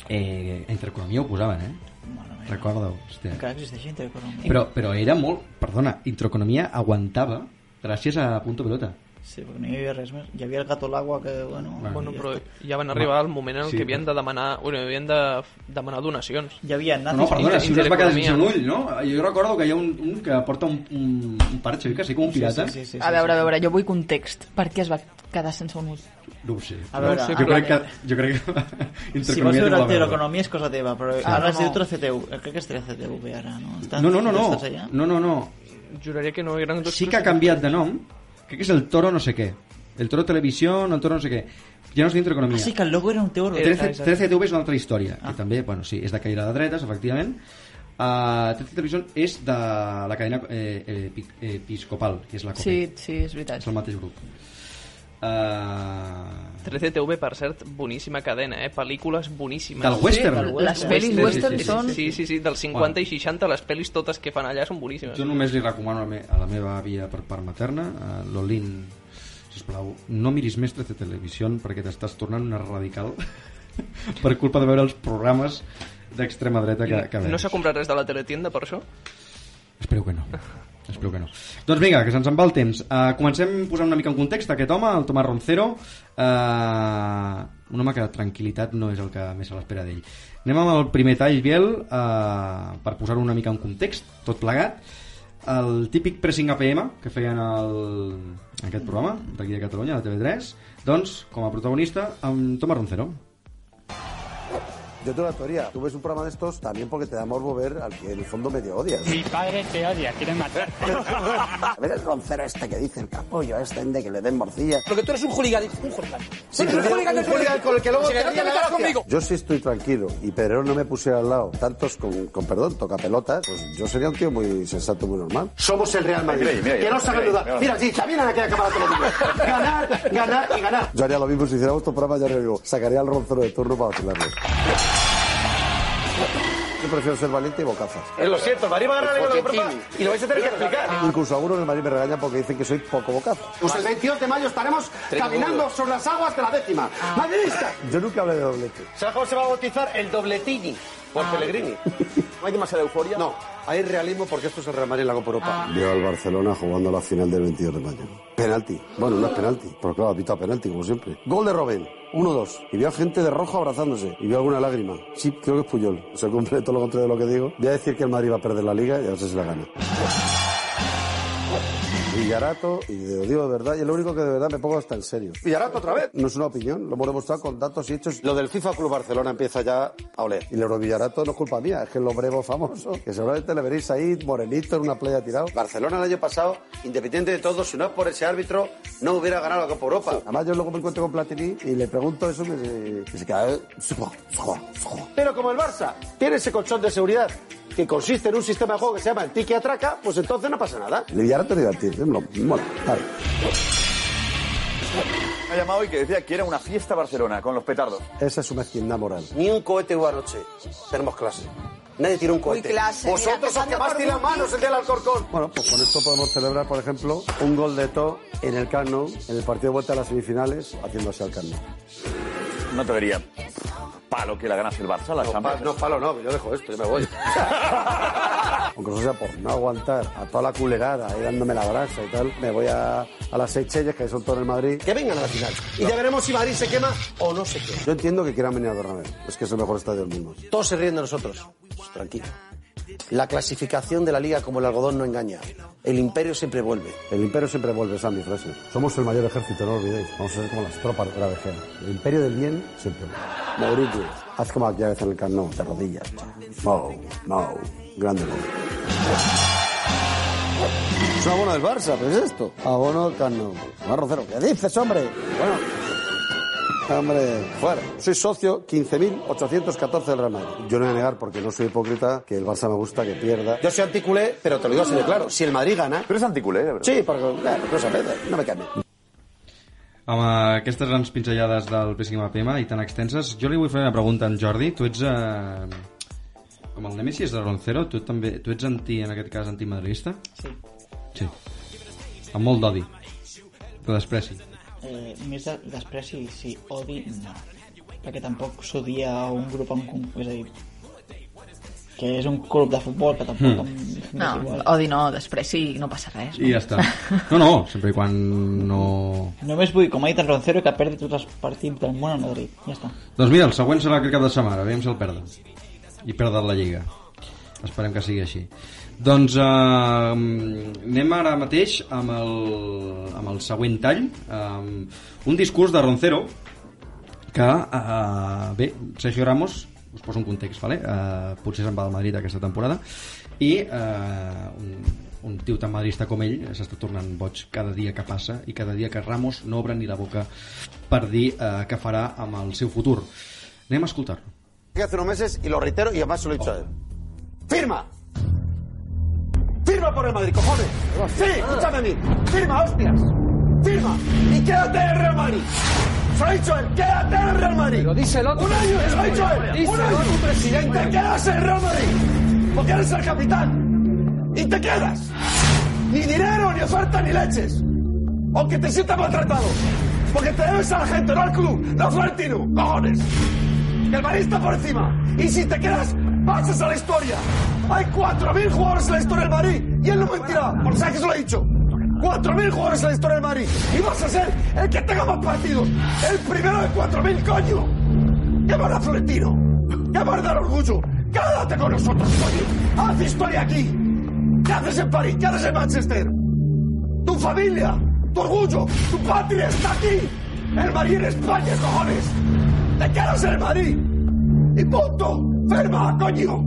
S2: eh, entre economia ho posaven, eh?
S3: Mare meva.
S2: Recorda-ho. hòstia.
S3: Encara existeix gent econòmica.
S2: Però, però era molt... Perdona, Introeconomia aguantava gràcies a Punto Pelota.
S3: Sí, perquè no hi havia res més. Hi havia el gato a l'aigua que, bueno...
S1: Bueno,
S3: ja
S1: però
S3: està.
S1: ja van arribar al moment en el
S2: Sí.
S1: que havien de demanar, bueno, havien de f- demanar donacions.
S3: Hi havia
S2: No,
S3: nazis...
S2: no, perdona,
S1: Inter-
S2: si no es va quedar sense un
S1: Intereconomia.
S2: ull, no? Jo recordo que hi ha un, un que porta un, un, un parxe, oi que sí, com un pirata.
S3: Sí, sí, sí, sí,
S4: A veure, a veure, jo vull context. Per què es va quedar sense un ús?
S2: No ho sé.
S3: A veure,
S2: jo,
S3: a
S2: crec que,
S3: veure.
S2: jo crec que...
S3: Si vols
S2: Intereconomia té molt
S3: veure el
S2: a veure.
S3: Teleeconomia és cosa teva, però
S4: no,
S3: ara es diu
S4: Ah, no.
S3: 13TV. Crec eh, que és 13TV ara, no? Estàs-
S2: No, no, no,
S3: Estàs allà?
S2: no. No, no, no.
S1: Juraria que no eren dos...
S2: Sí que ha canviat de nom. Crec que és el Toro no sé què. El Toro Televisió, el Toro no sé què. Ja no és
S3: Ah,
S2: d'Intereconomia.
S3: sí, que el logo era un teu
S2: 13, 13TV és una altra història, que també, bueno, sí, és de cadira de dretes, efectivament. Uh, 13 Televisió és de la cadena eh, eh, epi- episcopal, que és la COPE,
S4: Sí, sí, és veritat.
S2: és el mateix grup. Uh,
S1: 13TV, per cert, boníssima cadena, eh? Pel·lícules boníssimes.
S2: del western.
S3: del
S4: Les
S3: western.
S4: pel·lis
S1: Sí, sí,
S4: western
S2: sí, sí,
S4: són...
S1: Sí, sí, sí, dels 50 i 60, les pel·lis totes que fan allà són boníssimes.
S2: Jo només li recomano a, me, a la meva àvia per part materna, a l'Olin, sisplau, no miris més 13 Televisió perquè t'estàs tornant una radical per culpa de veure els programes d'extrema dreta que, que veus.
S1: No s'ha comprat res de la teletienda per això?
S2: Espero que no. Espero que no. Doncs vinga, que se'ns en va el temps. Uh, comencem posant una mica en context aquest home, el Tomàs Roncero. Uh, un home que tranquil·litat no és el que més se l'espera d'ell. Anem amb el primer tall, Biel, uh, per posar-ho una mica en context, tot plegat. El típic pressing APM que feien el, en aquest programa d'aquí de Catalunya, de TV3, doncs, com a protagonista, amb Tomàs Roncero.
S6: Yo tengo una teoría. Tú ves un programa de estos también porque te da morbo ver al que en el fondo medio odias.
S7: Mi padre te odia, quiere matar.
S6: A ver el roncero este que dicen, capullo este de que le den morcilla.
S8: Porque tú eres un hooligan. Un hooligan. Sí, un hooligan,
S6: Un
S8: que tú eres-
S6: hooligan con el que luego
S8: Si
S6: te
S8: no
S6: ríe la
S8: metas
S6: gracia.
S8: conmigo.
S6: Yo sí estoy tranquilo y Pedrerol no me pusiera al lado tantos con, con perdón, toca pelotas, pues yo sería un tío muy sensato, muy normal.
S9: Somos el Real Madrid. que no sabe dudar. Mira, Chicha, viene a aquella cámara te lo digo. Ganar, ganar y ganar.
S6: Yo haría lo mismo si hiciéramos tu programa, ya lo digo. Sacaría al roncero de turno para vacilarle. Yo prefiero ser valiente y bocazas. Pues
S9: Eh, Lo siento, el Madrid va a ganar la Liga de Europa y lo vais a tener que explicar.
S6: Incluso algunos del Madrid me regañan porque dicen que soy poco bocazas.
S9: Pues el 22 de mayo estaremos caminando sobre las aguas de la décima. ¡Madridista!
S6: Yo nunca hablé de doblete.
S9: Ah. ¿Sabes cómo se va a bautizar? El dobletini. Por Pellegrini. ¿No hay demasiada euforia? No, hay realismo porque esto es el Real Madrid en la Copa Europa.
S6: Veo al Ah. Barcelona jugando la final del 22 de mayo. Penalti. Bueno, no es penalti, pero claro, ha pitado penalti, como siempre. Gol de Robén. 1-2. Y veo a gente de rojo abrazándose. Y veo alguna lágrima. Sí, creo que es Puyol. Se cumple todo lo contrario de lo que digo. Voy a decir que el Madrid va a perder la liga y a ver si se la gana. Villarato, y lo digo de verdad, y es lo único que de verdad me pongo hasta en serio.
S9: Villarato otra vez.
S6: No es una opinión, lo hemos demostrado con datos y hechos.
S9: Lo del FIFA Club Barcelona empieza ya a oler.
S6: Y el Eurovillarato no es culpa mía, es que el brevo famoso, que seguramente le veréis ahí morenito en una playa tirado.
S9: Barcelona el año pasado, independiente de todo, si no es por ese árbitro, no hubiera ganado la Copa Europa.
S6: Además, yo luego me encuentro con Platini y le pregunto eso y me- y se queda. eh, sujo, sujo, sujo.
S9: Pero como el Barça tiene ese colchón de seguridad que consiste en un sistema de juego que se llama el tiki atraca, pues entonces no pasa nada.
S6: El Villarato es divertido, ¿eh? Mola, mola, vale.
S10: Me ha llamado y que decía que era una fiesta Barcelona con los petardos.
S6: Esa es su mezquindad moral.
S9: Ni un cohete hubo anoche. Tenemos clase. Nadie tira un cohete.
S11: clase, mira,
S9: Vosotros os
S11: empezando
S9: quemasteis
S11: por
S9: las manos el del Alcorcón.
S6: Bueno, pues con esto podemos celebrar, por ejemplo, un gol de To en el Camp Nou, en el partido de vuelta a las semifinales, haciéndose al Camp Nou.
S10: No te vería palo que la ganase el Barça, la
S9: No, pa-
S10: Champions.
S9: no, palo, no, que yo dejo esto, yo me voy.
S6: Aunque eso sea por no aguantar a toda la culerada y dándome la brasa y tal, me voy a, a las Seychelles, que son todo en el Madrid.
S9: que vengan a la final. Y ya veremos si Madrid se quema o no se quema.
S6: Yo entiendo que quieran venir a Bernabéu, es que es el mejor estadio del mundo.
S9: Todos se ríen de nosotros. Pues tranquilo. La clasificación de la liga como el algodón no engaña. El imperio siempre vuelve.
S6: El imperio siempre vuelve, esa es mi frase. Somos el mayor ejército, no lo olvidéis. Vamos a ser como las tropas de la vejez. El imperio del bien siempre vuelve. Mauricio, haz como aquella vez en el Camp Nou, de rodillas. Mau, Mau, grande Mau. Es un abono del Barça, ¿pero es esto? Abono del Camp Nou. Navarro Cero, ¿qué dices, hombre? Bueno... Ah, Hombre, fuera. Soy socio 15.814 del Real Madrid. Yo no voy a negar, porque no soy hipócrita, que el Barça me gusta que pierda.
S9: Yo soy anticulé, pero te lo digo así de claro. Si el Madrid gana...
S10: Pero es anticulé, de verdad.
S9: Sí, porque claro, no, se puede, no me cambia.
S2: Amb eh, aquestes grans pinzellades del PSGMPM i tan extenses, jo li vull fer una pregunta a en Jordi. Tu ets... Eh, com el Nemesis de Roncero, tu, també, tu ets anti, en aquest cas, antimadridista?
S3: Sí.
S2: Sí. Amb molt d'odi. De despreci.
S3: Eh, més de, després, si, si odi, no. Perquè tampoc s'odia a un grup en concret. És a dir, que és un club de futbol que tampoc...
S2: Hmm.
S3: Mm.
S4: No, odi no, després sí, no passa res.
S2: I ja està. No, no, sempre i quan no...
S3: Només vull, com ha dit el Roncero, que perdi tots els partits del món a Madrid. Ja està.
S2: Doncs mira, el següent serà aquest cap de setmana, aviam si el perden. I perden la Lliga. Esperem que sigui així. Doncs eh, anem ara mateix amb el, amb el següent tall. Eh, un discurs de Roncero que, eh, bé, Sergio Ramos, us poso un context, vale? eh, potser se'n va al Madrid aquesta temporada, i eh, un, un tio tan madrista com ell s'està tornant boig cada dia que passa i cada dia que Ramos no obre ni la boca per dir eh, què farà amb el seu futur. Anem a escoltar-lo.
S9: Que hace unos meses, y lo reitero, y además se lo he dicho a él. ¡Firma! ¡Firma por el Madrid, cojones! ¡Sí, escúchame a mí! ¡Firma, hostias! ¡Firma! ¡Y quédate en el Real Madrid! ¡Se lo he dicho a él! ¡Quédate en el Real Madrid! Pero díselo ¡Un año! ¡Se lo he dicho a él! ¡Un año! presidente! ¡Te quedas en el Real Madrid! ¡Porque eres el capitán! ¡Y te quedas! ¡Ni dinero, ni oferta, ni leches! ¡Aunque te sientas maltratado! ¡Porque te debes a la gente, no al club! ¡No a Florentino! ¡Cojones! ¡Que el Madrid está por encima! ¡Y si te quedas, pasas a la historia! ¡Hay 4.000 jugadores en la historia del Madrid! ¡Y él no mentirá! ¡Por si se lo he dicho! ¡4.000 jugadores en la historia del Madrid! ¡Y vas a ser el que tenga más partidos! ¡El primero de 4.000, coño! ¡Qué van a Florentino! ¡Qué van a dar orgullo! ¡Quédate con nosotros, coño! ¡Haz historia aquí! ¿Qué haces en París? ¿Qué haces en Manchester? ¡Tu familia! ¡Tu orgullo! ¡Tu patria está aquí! ¡El Madrid en España, cojones! ¡Te quedas en el Madrid! ¡Y punto! ¡Firma, coño!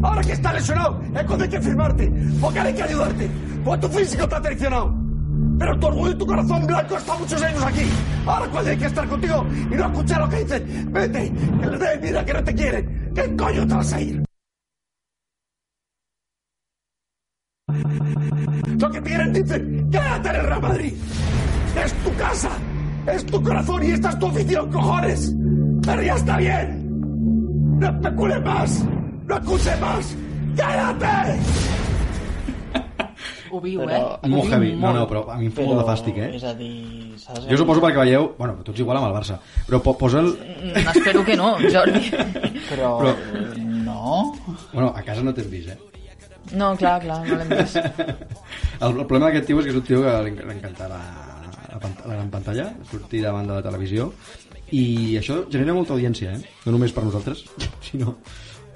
S9: Ahora que estás lesionado es cuando hay que firmarte, porque ahora hay que ayudarte, porque tu físico está traicionado. Pero tu orgullo y tu corazón blanco está muchos años aquí. Ahora cuando hay que estar contigo y no escuchar lo que dicen, vete, que le den vida, que no te quieren. ¿Qué coño te vas a ir? Lo que quieren dicen, quédate en el Real Madrid. Es tu casa, es tu corazón y esta es tu afición, cojones. Pero ya está bien. No especules más. No acuse más! ¡Cállate!
S4: Ho viu,
S2: Però-
S4: eh?
S2: Molt heavy. No, no, però a mi em fa molt de fàstic, eh?
S3: És a dir, saps?
S2: Jo suposo perquè veieu... Bueno, tu ets igual amb el Barça. Però po- posa'l...
S4: Mm, Espero que no, Jordi.
S3: Però...
S2: Però...
S3: eh, No?
S2: Bueno, a casa no t'hem vist, eh?
S4: No, clar, clar, no l'hem vist.
S2: El, el problema d'aquest tio és que és un tio que li enc- li encanta la, la, pant- la gran pantalla, sortir davant de la televisió, i això genera molta audiència, eh? No només per nosaltres, sinó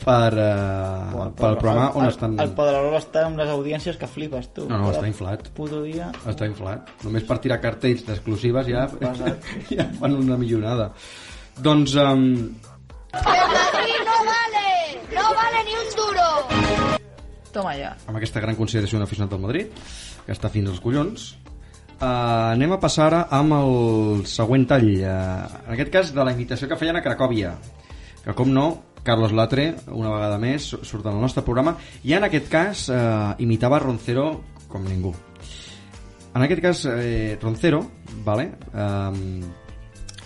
S2: per, uh, pel programa on
S3: el,
S2: estan...
S3: El Pedrerol està amb les audiències que flipes, tu.
S2: No, no,
S3: Cada
S2: està inflat.
S3: Puto dia...
S2: Està inflat. Només per tirar cartells d'exclusives ja, ja fan una millonada. Doncs... Um,
S9: no vale! ¡No vale ni un duro!
S4: Toma ja.
S2: amb aquesta gran consideració d'un aficionat del Madrid, que està fins als collons. Uh, anem a passar ara amb el següent tall, uh, en aquest cas de la invitació que feien a Cracòvia, que com no, Carlos Latre, una vegada més, surt en el nostre programa, i en aquest cas uh, imitava Roncero com ningú. En aquest cas, eh, Roncero, vale, um,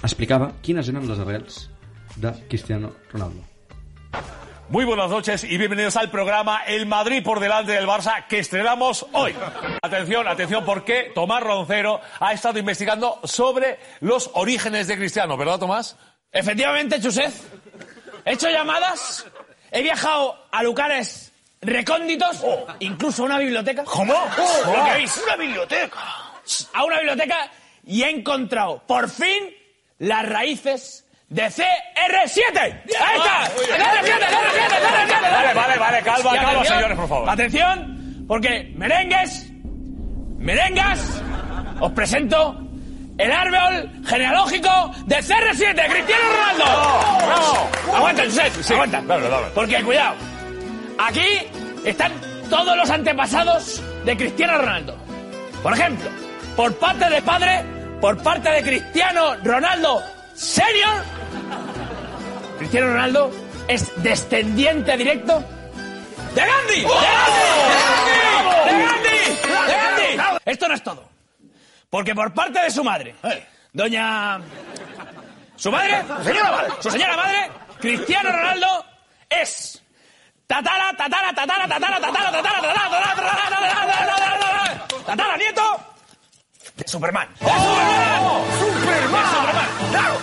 S2: explicava quines eren les arrels de Cristiano Ronaldo.
S11: Muy buenas noches y bienvenidos al programa El Madrid por delante del Barça que estrenamos hoy. Atención, atención, porque Tomás Roncero ha estado investigando sobre los orígenes de Cristiano, ¿verdad, Tomás?
S8: Efectivamente, Chusez. He hecho llamadas, he viajado a lugares recónditos, incluso a una biblioteca.
S11: Oh. ¿Cómo?
S8: Oh,
S11: ¿Cómo?
S8: ¿lo que veis? ¡Una biblioteca! A una biblioteca y he encontrado, por fin, las raíces de CR7. ¡Ahí está!
S11: Ah, muy bien.
S8: ¡CR7, CR7, CR7!
S11: Vale, vale, vale, calma,
S8: Y
S11: calma,
S8: atención,
S11: señores, por favor.
S8: Atención, porque merengues, merengas, os presento el árbol genealógico de CR7, Cristiano Ronaldo.
S11: ¡Bravo! ¡Bravo!
S8: Aguanta, Josep, aguanta.
S11: dale, dale.
S8: Porque cuidado, aquí están todos los antepasados de Cristiano Ronaldo. Por ejemplo, por parte de padre, por parte de Cristiano Ronaldo Senior, Cristiano Ronaldo es descendiente directo de Gandhi. ¡De Gandhi! ¡De Gandhi! ¡De Gandhi! ¡De Gandhi! Esto no es todo. Porque por parte de su madre, doña... Su madre, su señora madre, su señora madre, Cristiano Ronaldo es... Tatara, tatara, tatara, tatara, tatara, tatara, tatara, tatara, tatara, tatara, tatara, tatara, tatara, tatara, nieto de Superman. ¡De
S11: ¡Oh! ¡Superman!
S8: ¡De Superman! ¡Claro!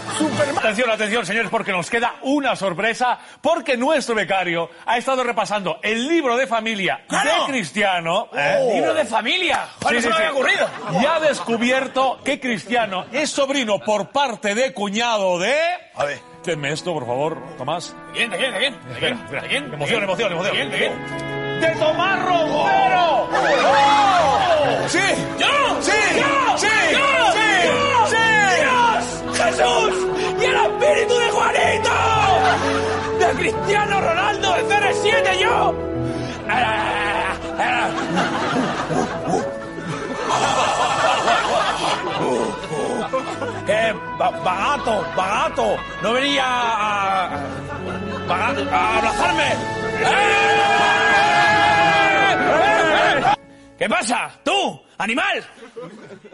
S11: Atención, atención, señores, porque nos queda una sorpresa, porque nuestro becario ha estado repasando el libro de familia
S8: Claro.
S11: de Cristiano. ¿eh?
S8: ¡Oh! ¡Libro de familia! ¡Joder,
S11: Sí, sí,
S8: no se me había
S11: sí.
S8: ocurrido!
S11: Y ha descubierto que Cristiano es sobrino por parte de cuñado de... A ver. Tenme esto, por favor, Tomás.
S8: ¿De quién, de quién, de quién? ¿De quién?
S11: Espera, espera.
S8: ¿De quién?
S11: Emoción, emoción, emoción.
S8: ¿De quién, de quién?
S11: ¡De Tomás Roncero!
S8: ¡Oh!
S11: ¡Sí!
S8: ¡Yo!
S11: ¡Sí!
S8: ¡Yo!
S11: ¡Sí!
S8: ¡Yo!
S11: ¡Sí!
S8: ¡Yo!
S11: ¡Sí!
S8: ¡Dios! ¡Jesús! ¡Y el espíritu de Juanito! ¡De Cristiano Ronaldo de CR7 yo! Eh, ba- bagato, bagato, no venía a, bagato, a abrazarme. ¡Eh! ¡Eh! ¿Qué pasa? ¿Tú, animal?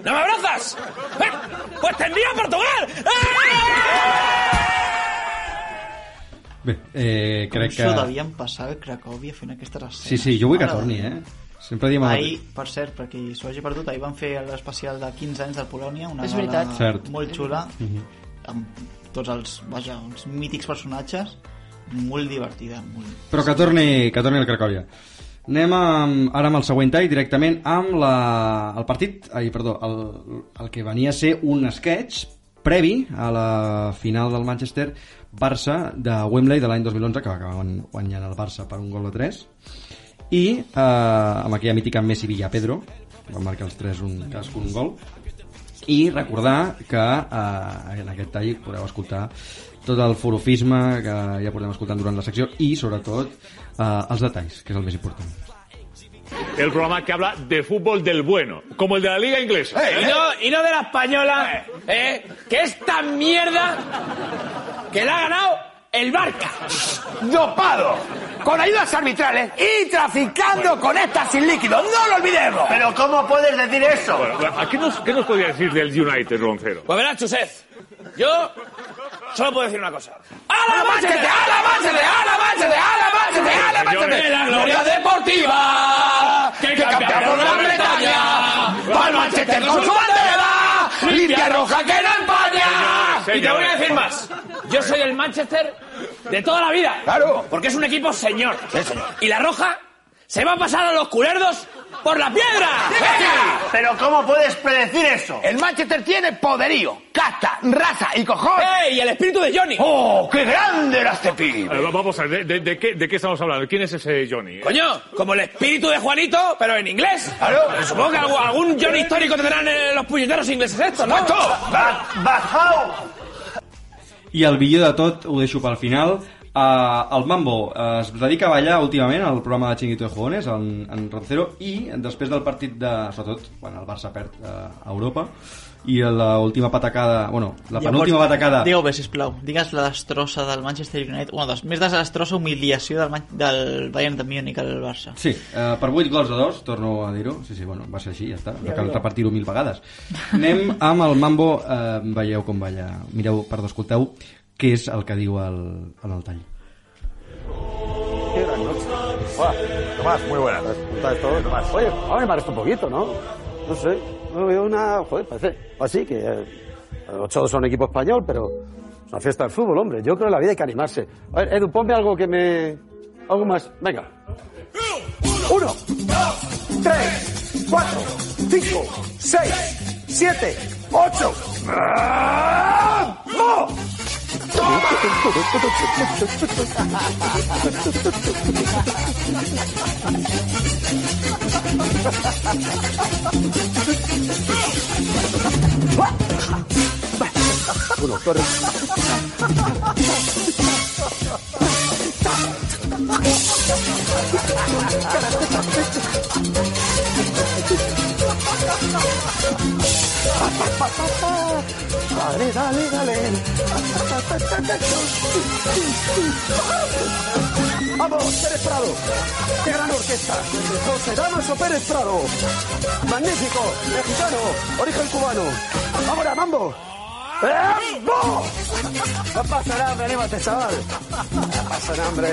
S8: ¿No me abrazas? ¡Eh! ¡Pues te envío a Portugal! ¡Eh!
S2: Bé, eh, crec
S3: Això
S2: que...
S3: devien passar a Cracòvia fent aquestes escenes.
S2: Sí, sí, jo vull que
S3: Mare de
S2: torni,
S3: Déu.
S2: eh? Sempre diem...
S3: Ahir, per cert, perquè s'ho hagi perdut, ahir van fer l'especial de 15 anys de Polònia, una
S4: És
S3: gala
S4: veritat.
S2: Cert.
S3: molt xula,
S2: Mhm.
S3: amb tots els, vaja, uns mítics personatges, molt divertida, molt...
S2: Però que torni, que torni el Cracòvia. Anem amb, ara amb el següent tall, directament amb la, el partit, ai, perdó, el, el que venia a ser un sketch previ a la final del Manchester Barça de Wembley de l'any 2011, que va acabar guan- guanyant el Barça per un gol de 3 i eh, amb aquella mítica Messi Villa Pedro van marcar els tres un, cadascun un gol i recordar que eh, en aquest tall podeu escoltar tot el forofisme que ja portem escoltant durant la secció i, sobretot, eh, els detalls, que és el més important.
S11: El programa que habla de fútbol del bueno, como el de la Liga Inglesa.
S8: Y no, y no de la española, ¿eh? que esta mierda que la ha ganado el Barca.
S9: ¡Dopado! Con ayudas arbitrales y traficando con estas sin líquido. ¡No lo olvidemos! ¿Pero cómo puedes decir eso?
S11: ¿A qué nos, qué nos podría decir del United, Roncero?
S8: Pues verás, Chusez, yo solo puedo decir una cosa. ¡A la
S9: ¡Alábáchete,
S8: Manchester!
S9: alábáchete, alábáchete, alábáchete!
S8: ¡Levántate! ¡Ah, levántate!
S9: la
S8: La
S9: gloria
S8: gloria deportiva que campearon la Bretaña. Para Manchester con su bandera, limpia roja que era España. Y te voy a decir más. Yo soy el Manchester de toda la vida. Claro. Porque es un equipo señor. Y la roja se va a pasar a los culerdos por la piedra.
S12: Pero ¿cómo puedes predecir eso?
S8: El Manchester tiene poderío, casta, raza ¡Eh! y cojones. ¡Ey! El espíritu de Johnny.
S12: ¡Eh! ¡Oh, qué grande era este
S11: A ver,
S12: pibe!
S11: va- Vamos a ver, ¿de, de- de qué, de qué estamos hablando? ¿Quién es ese Johnny?
S8: Coño, como el espíritu de Juanito, pero en inglés.
S11: Claro.
S8: Supongo que algu- algún Johnny histórico tendrán eh, los puñeteros ingleses estos, ¿no?
S12: ¡Bajao!
S2: I el millor de tot ho deixo pel final. Uh, el Mambo eh, es dedica a ballar últimament al programa de Chinguito de Jugones, en, en Roncero, i després del partit de... Sobretot quan el Barça perd eh, a Europa, i l'última patacada... Bueno, la penúltima batacada...
S3: DOB, sisplau, digues la destrossa del Manchester United, una de les més desastrosa humiliació del, Man- del Bayern de Múnich al Barça.
S2: Sí, eh, per 8 gols a 2, torno a dir-ho. Sí, sí, bueno, va ser així, ja està. No cal
S3: Ja, ja.
S2: repartir-ho mil vegades. Anem amb el Mambo, eh, veieu com balla. Mireu, perdó, escolteu, què és el que diu el, en el tall.
S10: Qué gran noche. Hola, Tomás, muy buena. Tomás.
S6: Oye, ahora me resta un poquito, ¿no? No sé. No veo una. Joder, parece. Así que. eh, los todos son equipo español, pero. Es una fiesta del fútbol, hombre. Yo creo que en la vida hay que animarse. A ver, Edu, ponme algo que me. Algo más. Venga.
S9: Uno, dos, tres, cuatro, cinco, seis, siete, ocho. ¡Vamos!
S6: Uno, corre.
S9: Dale, dale, dale. Vamos, Pérez Prado. Qué gran orquesta. José Damaso Pérez Prado. Magnífico, mexicano, origen cubano. Ahora, mambo. ¡Mambo! No pasa hambre, anímate, chaval. No pasa hambre.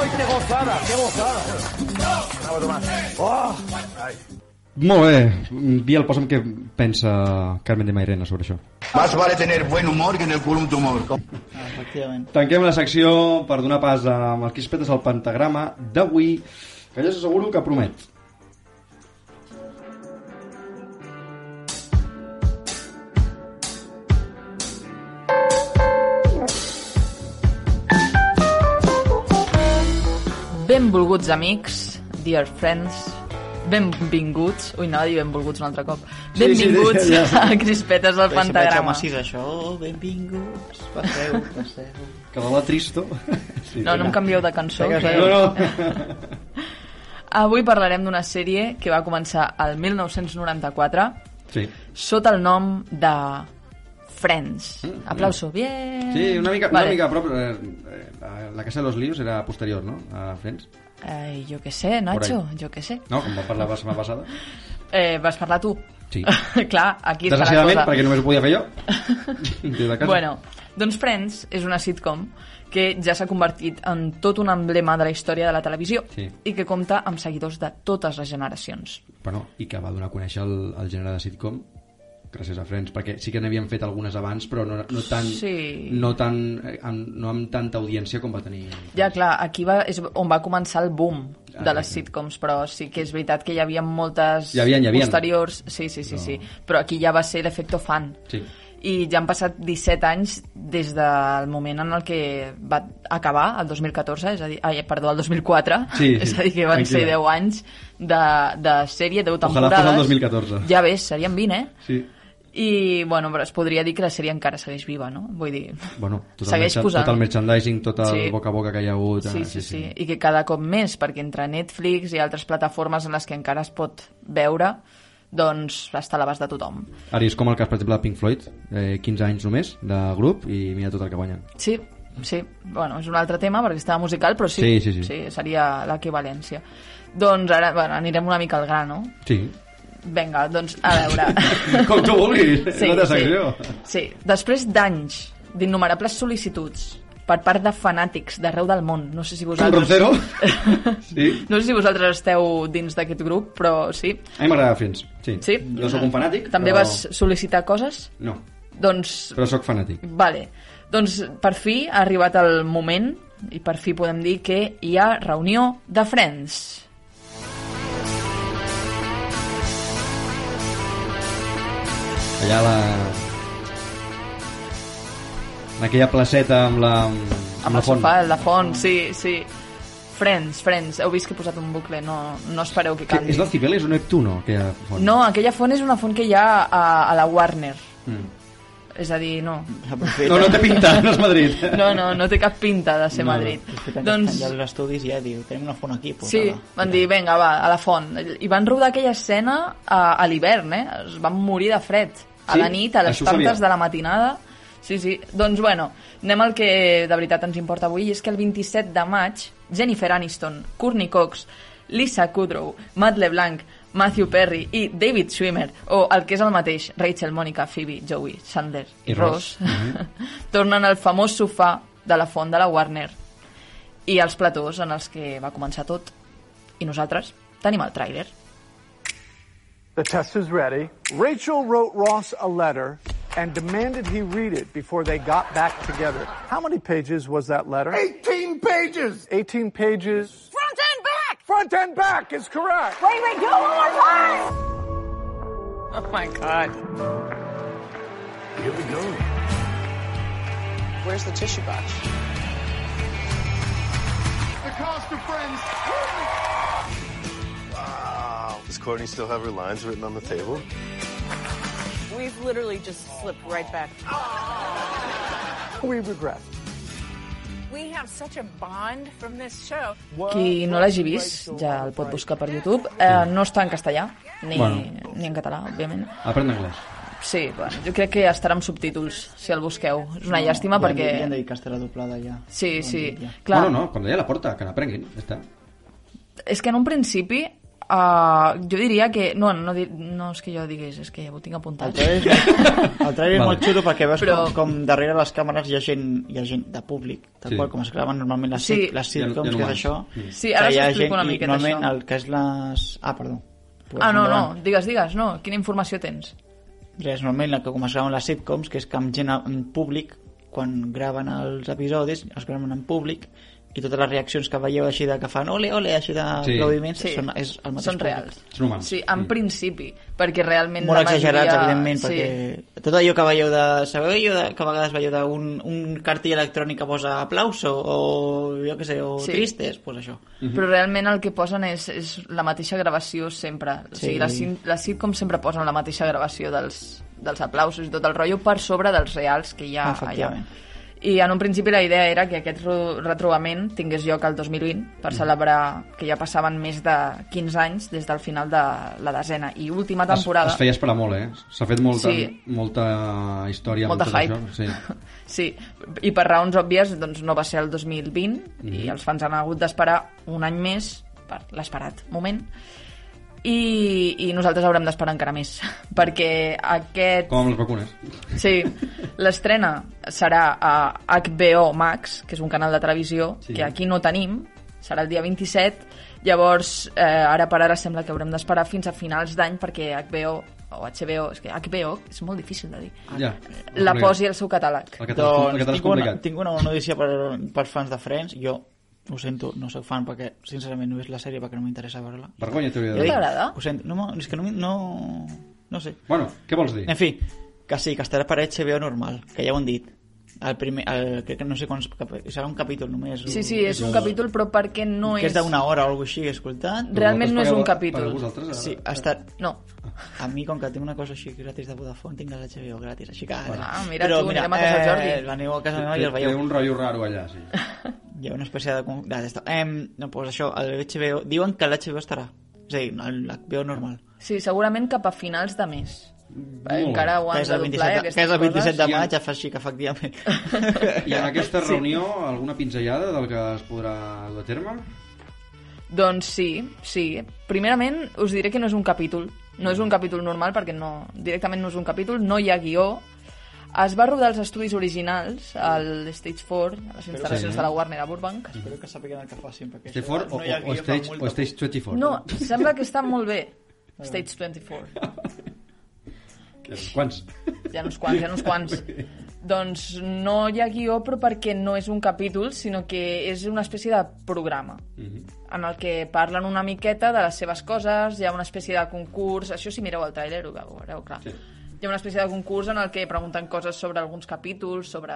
S9: ¡Uy, qué gozada, qué gozada! Bravo, Tomás. ¡Oh!
S2: Molt bé, Biel, posa'm què pensa Carmen de Mairena sobre això.
S13: Más vale tener buen humor que en el culo un tumor.
S3: Efectivament.
S2: Tanquem la secció per donar pas amb el Crispetes al pentagrama d'avui, que ja us asseguro que promet.
S4: Benvolguts amics, dear friends, benvinguts, ui, anava a dir benvolguts un altre cop,
S3: Sí,
S4: benvinguts
S3: sí, ja, ja.
S4: a Crispetes al Pentagrama.
S3: Si això, "Oh, benvinguts, passeu, passeu.
S2: Que la tristo. Sí,
S4: No, no em canvieu de cançó.
S2: Vinga,
S4: que-
S2: No, no.
S4: Avui parlarem d'una sèrie que va començar al 1994
S2: Sí.
S4: sota el nom de Friends. Aplauso, bien!
S2: Mm, Sí, una mica,
S4: Vale.
S2: una mica a prop. Eh, eh, la- la Casa de los Líos era posterior, no? A Friends.
S4: Ai, jo què sé, Nacho, jo què sé.
S2: No, com va parlar la setmana passada.
S4: Eh, vas parlar tu.
S2: Sí.
S4: Clar, aquí està la
S2: Desgraciadament,
S4: cosa.
S2: perquè només ho podia fer jo. Des de casa.
S4: Bueno, doncs Friends és una sitcom que ja s'ha convertit en tot un emblema de la història de la televisió
S2: Sí.
S4: i que compta amb seguidors de totes les generacions.
S2: bueno, i que va donar a conèixer el, el gènere de sitcom gràcies a Friends, perquè sí que n'havien fet algunes abans, però no, no tan...
S4: Sí.
S2: No, tan eh, amb, no amb tanta audiència com va tenir.
S4: Ja, clar, aquí va, és on va començar el boom de
S2: Exacte.
S4: les sitcoms, però sí que és veritat que hi havia moltes
S2: Ah, Hi havia, hi havia.
S4: posteriors. Sí, sí, sí,
S2: No.
S4: sí. Però aquí ja va ser l'efecte fan.
S2: Sí.
S4: I ja han passat 17 anys des del moment en el que va acabar, el 2014, és a dir, ai, perdó, el 2004,
S2: Sí, sí,
S4: és a dir, que van ser
S2: tranquil·la.
S4: 10 anys de, de sèrie, 10
S2: Ojalà
S4: temporades.
S2: fos el 2014.
S4: Ja ves, serien 20, eh?
S2: Sí.
S4: I, bueno, però es podria dir que la sèrie encara segueix viva, no? Vull dir,
S2: Bueno, tot el,
S4: segueix
S2: mercha-
S4: posant...
S2: tot el merchandising, tot el
S4: Sí.
S2: boca a boca que hi ha hagut. eh,
S4: Sí, sí, sí, i que cada cop més, perquè entre Netflix i altres plataformes en les que encara es pot veure, doncs està a l'abast de tothom.
S2: Ara és com el cas, per exemple, de Pink Floyd, eh, 15 anys només de grup i mira tot el que guanyen.
S4: Sí, sí, bueno, és un altre tema perquè estava musical, però sí,
S2: Sí, sí, sí.
S4: seria l'equivalència. Doncs ara bueno, anirem una mica al gra, no?
S2: Sí.
S4: Vinga, doncs a veure.
S2: Com tu vulguis, la teva secció.
S4: Sí, sí. després d'anys d'innumerables sol·licituds per part de fanàtics d'arreu del món. No sé si vosaltres...
S2: Roncero? sí.
S4: No sé si vosaltres esteu dins d'aquest grup, però sí.
S2: A mi m'agrada Friends, sí.
S4: sí.
S2: No sóc un fanàtic,
S4: També
S2: però...
S4: vas sol·licitar coses?
S2: No,
S4: Doncs,
S2: però sóc fanàtic.
S4: vale. Doncs per fi ha arribat el moment i per fi podem dir que hi ha reunió de Friends.
S2: Allà a la... En aquella placeta amb la... Amb,
S4: Amb
S2: la
S4: el
S2: font.
S4: sofà, la font, sí, sí. Friends, Friends. Heu vist que he posat un bucle, no, no espereu que
S2: Que
S4: canvi.
S2: és la Cibeles o Neptuno, aquella font?
S4: No, aquella font és una font que hi ha a, a la Warner.
S2: Mm.
S4: És a dir, no.
S2: No, no té pinta, no és Madrid.
S4: No, no, no té cap pinta de ser
S3: No, no.
S4: Madrid.
S3: Doncs...
S4: Doncs,
S3: Ja dels estudis ja diu, tenim una font aquí, pues,
S4: sí,
S3: ala.
S4: van dir, vinga, va, a la font. I van rodar aquella escena a, a l'hivern, eh? Es van morir de fred. A
S14: Sí?
S4: la nit, a les
S14: Això ho sabia.
S4: tantes de la matinada. Sí, sí. Doncs, bueno, anem al que de veritat ens importa avui, i és que el 27 de maig, Jennifer Aniston, Courtney Cox, Lisa Kudrow, Matt LeBlanc, Matthew Perry i David Schwimmer, o el que és el mateix, Rachel, Monica, Phoebe, Joey, Chandler i,
S14: I Ross.
S4: Ross, tornen al famós sofà de la font de la Warner i als platós en els que va començar tot. I nosaltres tenim el tràiler.
S15: The test is ready. Rachel wrote Ross a letter and demanded he read it before they got back together. How many pages was that letter? 18 pages! 18 pages. Front and back! Front and back is correct! Wait, wait, go on,
S14: Oh my god. Here we go. Where's the tissue box?
S13: The cost of friends.
S16: Wow. Does Courtney still have her lines written on the table?
S14: We've literally just slipped right back.
S15: We regret.
S14: We have such a bond from this show.
S4: Qui no l'hagi vist, ja el pot buscar per YouTube. Eh, no està en castellà, ni,
S2: Bueno.
S4: ni en català, òbviament.
S2: Aprèn anglès.
S4: Sí, bueno, jo crec que estarà amb subtítols, si el busqueu. És una llàstima
S3: ja,
S4: perquè...
S3: Ja han dit que estarà doblada ja.
S4: Sí, sí, clar.
S2: Clar. Bueno, no, com deia la porta, que n'aprenguin, ja està.
S4: És que en un principi Uh, jo diria que... No, no, di- no és que jo digués, és que ho tinc apuntat.
S3: El trailer és
S2: Vale.
S3: molt xulo perquè veus
S4: Però-
S3: com, com darrere les càmeres hi ha gent, hi ha gent de públic, tal
S2: Sí.
S3: sí. qual com es graven normalment les,
S4: Sí.
S3: sí. les
S2: Hi ha- hi ha
S3: sitcoms, que és
S2: humans.
S3: això.
S2: Mm.
S4: Sí, ara
S3: que hi ha
S4: s'explica
S3: gent
S4: una
S3: i
S4: miqueta
S3: normalment
S4: això.
S3: el que és les... Ah, perdó.
S4: Ah, no,
S3: endavant.
S4: no, digues, digues, no. Quina informació tens?
S3: Res, normalment el que com es graven les sitcoms, que és que amb gent en públic, quan graven els episodis, els graven en públic, i totes les reaccions que veieu així de que fan ole, ole, així de
S2: Sí.
S3: aplaudiments,
S4: Sí.
S3: són, és el mateix
S4: Són reals.
S3: públic.
S2: Són humans.
S4: Sí, en principi, perquè realment...
S3: Molt
S4: la majoria-
S3: exagerats, evidentment,
S4: sí.
S3: perquè tot allò que veieu de... Sabeu allò de, que a vegades veieu d'un un cartell electrònic que posa aplauso o jo què sé, o
S4: Sí.
S3: tristes, doncs pues això.
S4: Però realment el que posen és, és la mateixa gravació sempre. O sigui,
S3: Sí.
S4: les, sin- les sitcoms sempre posen la mateixa gravació dels, dels aplausos i tot el rotllo per sobre dels reals que hi ha allà.
S3: Efectivament.
S4: I en un principi la idea era que aquest ro- retrobament tingués lloc al 2020 per
S3: Mm.
S4: celebrar que ja passaven més de 15 anys des del final de la desena i última temporada.
S2: Es, es feia esperar molt, eh? S'ha fet molta,
S4: Sí.
S2: molta història. amb
S4: Molta
S2: tot
S4: hype.
S2: Això. Sí.
S4: Sí, i per raons òbvies doncs, no va ser el 2020 i
S2: Mhm.
S4: els fans han hagut d'esperar un any més per l'esperat moment i, i nosaltres haurem d'esperar encara més perquè aquest...
S2: Com amb les vacunes.
S4: Sí, l'estrena serà a HBO Max, que és un canal de televisió
S2: Sí.
S4: sí. que aquí no tenim, serà el dia 27, llavors eh, ara per ara sembla que haurem d'esperar fins a finals d'any perquè HBO o HBO, és que HBO és molt difícil de dir,
S2: Ja.
S4: la
S2: Complicat.
S4: posi al seu catàleg.
S3: Doncs tinc una, tinc una notícia per, per fans de Friends. Jo ho sento, no sóc fan perquè, sincerament, no he vist la sèrie perquè no m'interessa veure-la.
S2: Vergonya, t'hauria de dir.
S3: Jo dic,
S2: T'agrada?
S3: Ho sento, no, no, és que no, m'hi- no, no sé.
S2: Bueno, què vols dir?
S3: En fi, que sí, que estarà per HBO normal, que ja ho han dit. El primer, el, crec que no sé quants, cap- serà un capítol només. o-
S4: Sí, sí, és un capítol, però perquè no
S3: que
S4: és...
S3: és d'una hora o alguna cosa així, he escoltat.
S4: Realment no és un capítol.
S3: Sí, ha estat...
S4: No.
S3: A mi, com que tinc una cosa així gratis de Vodafone, tinc el HBO gratis, així que...
S4: Bueno. Ah, mira tu, anirem a casa
S3: eh,
S4: Jordi.
S3: L'aneu a casa meva i
S2: Té-
S3: el veieu.
S2: té un rotllo raro allà, sí.
S3: Hi ha una espècie de... con- de d'esto. Em, no, doncs això, el HBO... Diuen que l'HBO estarà. És a dir, l'HBO normal.
S4: Sí, segurament cap a finals de mes. Encara ho
S3: Que
S4: han
S3: és
S4: de
S3: el 27
S4: doblar,
S3: de,
S4: aquestes
S3: que és el 27 de
S4: coses.
S3: maig, ja fa així que efectivament...
S2: I en aquesta
S3: Sí.
S2: reunió, alguna pinzellada del que es podrà dur a terme?
S4: Doncs sí, sí. Primerament us diré que no és un capítol. No és un capítol normal perquè no, directament no és un capítol, no hi ha guió. Es va rodar els estudis originals al Stage 4, a les instal·lacions
S2: Sí.
S4: de la Warner a Burbank.
S3: Espero que sàpiguen el que facin, perquè
S2: Stage 4 o,
S3: no hi ha
S2: o, o,
S3: guió
S2: stage,
S3: per
S2: o
S3: multa.
S2: stage 24.
S4: No, sembla que està molt bé. Stage 24.
S2: Eh, Quants?
S4: Hi ha uns quants, hi ha uns quants. Doncs no hi ha guió, però perquè no és un capítol, sinó que és una espècie de programa
S2: Mhm.
S4: en el que parlen una miqueta de les seves coses, hi ha una espècie de concurs, això si mireu el tràiler ho veureu, clar. Sí. Hi ha una espècie de concurs en el que pregunten coses sobre alguns capítols, sobre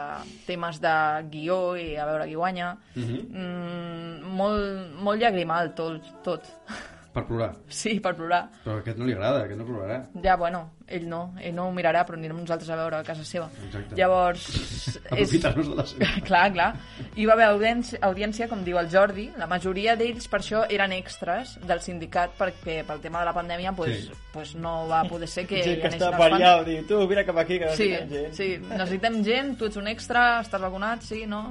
S4: temes de guió i a veure qui guanya.
S2: Mhm.
S4: Mm, molt, molt llagrimal tot, tot.
S2: Per plorar.
S4: Sí, per plorar.
S2: Però a aquest no li agrada, aquest no plorarà.
S4: Ja, bueno, ell no, ell no ho mirarà, però anirem nosaltres a veure a casa seva.
S2: Exacte.
S4: Llavors...
S2: Aprofitar-nos de la seva.
S4: clar, clar. Hi va haver audiència, audiència, com diu el Jordi, la majoria d'ells per això eren extras del sindicat perquè pel tema de la pandèmia pues,
S3: Sí.
S4: sí. pues no va poder ser que...
S3: Gent
S4: hi
S3: que
S4: anessin
S3: està
S4: els
S3: per
S4: fans.
S3: allà, o dir, tu, mira cap aquí, que
S4: Sí,
S3: necessitem gent.
S4: sí, necessitem gent, tu ets un extra, estàs vacunat, sí, no?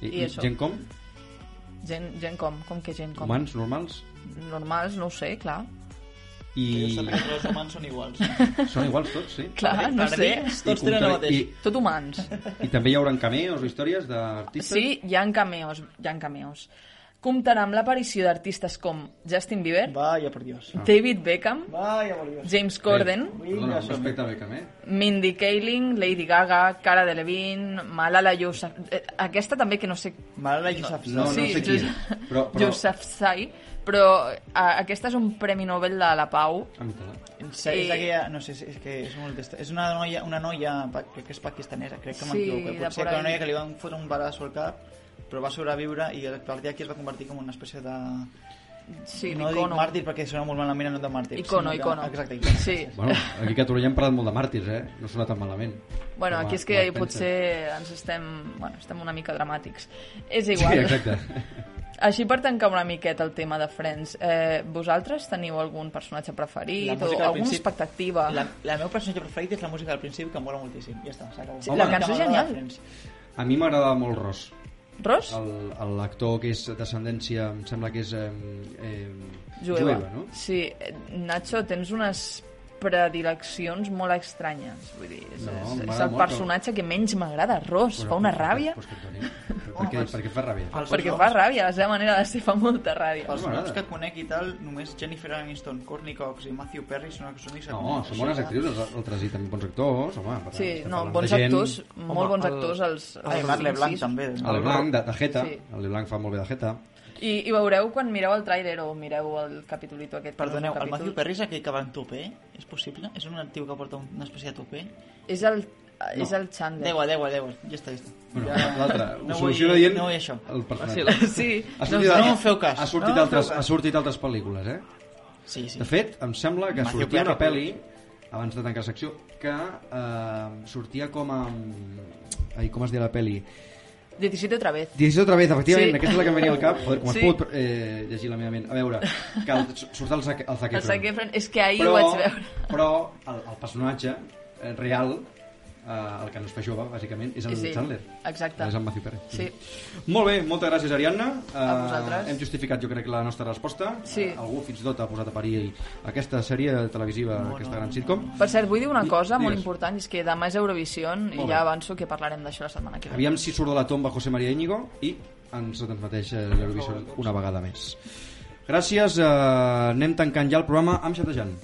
S4: I, això.
S2: Gent com?
S4: Gent, gent com? Com que gent com?
S2: Humans, normals?
S4: Normals, no ho sé, clar.
S2: I...
S3: Sàpiguen que els humans són iguals.
S2: Són iguals tots, sí.
S4: Clar, no sé.
S2: Ardilles, tots I tenen el contrari- mateix.
S4: Tot humans.
S2: I també hi hauran cameos o històries d'artistes?
S4: Sí, hi ha cameos, hi ha cameos. Comptarà amb l'aparició d'artistes com Justin Bieber,
S3: Vaya por Dios.
S4: David Beckham,
S3: Vaya por Dios.
S4: James Corden,
S2: Bé, Eh, Perdona, un respecte a Beckham, eh?
S4: Mindy Kaling, Lady Gaga, Cara Delevingne, Malala Yousafzai... Aquesta també que no sé...
S3: Malala Yousafzai.
S2: No, no sé qui és, però- però-
S4: Yousafzai, però a, aquesta és un Premi Nobel de la Pau.
S3: Sí, és aquella, no sé, si és que és molt d'esta- és una noia, una noia, pa- crec que és pakistanesa, crec que
S4: Sí,
S3: m'equivoco,
S4: de
S3: eh? potser que
S4: por
S3: una
S4: ahí.
S3: noia que li van fotre un balazo al cap, però va sobreviure i a partir d'aquí es va convertir com una espècie de...
S4: Sí,
S3: no dic
S4: d'icono.
S3: màrtir perquè sona molt malament el nom de màrtir. sinó
S4: Icono,
S3: que-
S4: icono.
S3: Exacte, icono.
S4: Sí.
S2: Bueno, aquí a Catalunya hem parlat molt de màrtirs, eh? No sona tan malament.
S4: Bueno,
S2: Com a-
S4: aquí és
S2: com
S4: que
S2: et penses.
S4: potser ens estem, bueno, estem una mica dramàtics. És
S2: Sí,
S4: igual.
S2: exacte.
S4: Així per tancar una miqueta el tema de Friends, eh, vosaltres teniu algun personatge
S3: La
S4: preferit o
S3: música del
S4: alguna
S3: principi.
S4: expectativa?
S3: La, la meva personatge preferit és la música del principi, que em mola moltíssim. Ja està, s'acabó.
S4: Sí, la
S3: Única
S4: cançó és
S3: m'agrada
S4: genial.
S3: de Friends.
S2: A mi m'agradava molt Ross.
S4: Ross?
S2: El- L'actor que és d'ascendència, em sembla que és... Eh, eh, no?
S4: Sí, eh, Nacho, tens unes predileccions molt estranyes. Vull dir, és,
S2: No,
S4: és, és
S2: m'agrada
S4: el
S2: molt,
S4: personatge que menys m'agrada, Ross.
S2: Però-
S4: Fa una ràbia.
S2: Per què, per què fa ràbia?
S4: Perquè fa ràbia, la seva manera de ser fa molta ràbia.
S3: Pels noms que conec i tal, només Jennifer Aniston, Courtney Cox i Matthew Perry són, són, són,
S2: No, són bones actrius, els altres i també bons actors, home. per tant,
S4: Sí,
S2: estem
S4: no,
S2: parlant
S4: bons
S2: de gent-
S4: actors, molt bons actors, els- els
S3: Ai, Marc
S4: cinc,
S3: Leblanc
S4: sis.
S3: també.
S2: El Blanc, de, de Jeta.
S4: Sí.
S2: El Blanc fa molt bé de Jeta.
S4: I, I veureu quan mireu el tràiler o mireu el capitolito aquest. que no és un
S3: Perdoneu, el
S4: capítol.
S3: Matthew Perry és aquell que va en topé? És possible? És un actiu que porta un- una espècie de eh? topé?
S4: És el, és el Chandler.
S3: Deu, deu, deu. Ja està, ja està.
S2: Bueno,
S3: ja...
S2: l'altre, ho
S3: no vull,
S2: soluciona dient
S3: no vull això.
S2: el
S1: Ah,
S2: personatge. Ha
S3: No,
S2: sortit,
S3: no,
S2: al-
S3: em feu cas.
S2: Ha sortit,
S3: no, em feu
S2: altres,
S3: cas.
S2: ha sortit altres pel·lícules, eh?
S3: Sí, sí.
S2: De fet, em sembla que
S3: Matthew
S2: sortia una
S3: Perry.
S2: pel·li, abans de tancar secció, que eh, sortia com a... Ai, com es deia la pel·li?
S4: 17 otra vez.
S2: 17 otra vez, efectivament,
S4: Sí.
S2: aquesta és la que em venia al cap. Joder, com
S4: Sí.
S2: es pot eh, llegir la meva ment? A veure, que el, surt el Zac, el Zac
S4: El Zac
S2: Efron.
S4: Efron, és que ahir
S2: però,
S4: ho vaig veure.
S2: Però el, el personatge eh, real, eh, el que no es fa jove, bàsicament, és el
S4: Sí,
S2: Chandler.
S4: exacte.
S2: És el Matthew Perry.
S4: Sí.
S2: Molt bé, moltes gràcies, Ariadna. Eh,
S4: A vosaltres.
S2: hem justificat, jo crec, la nostra resposta.
S4: Sí.
S2: Eh, algú fins i tot ha posat a parir aquesta sèrie televisiva, aquesta gran sitcom.
S4: Per cert, vull dir una cosa molt
S2: digues.
S4: important, és que demà és Eurovisió i
S2: Molt bé.
S4: ja avanço que parlarem d'això la setmana que ve.
S2: Aviam si surt de la tomba José María Íñigo i ens transmeteix eh, l'Eurovisió una vegada més. Gràcies, eh, anem tancant ja el programa amb xatejant.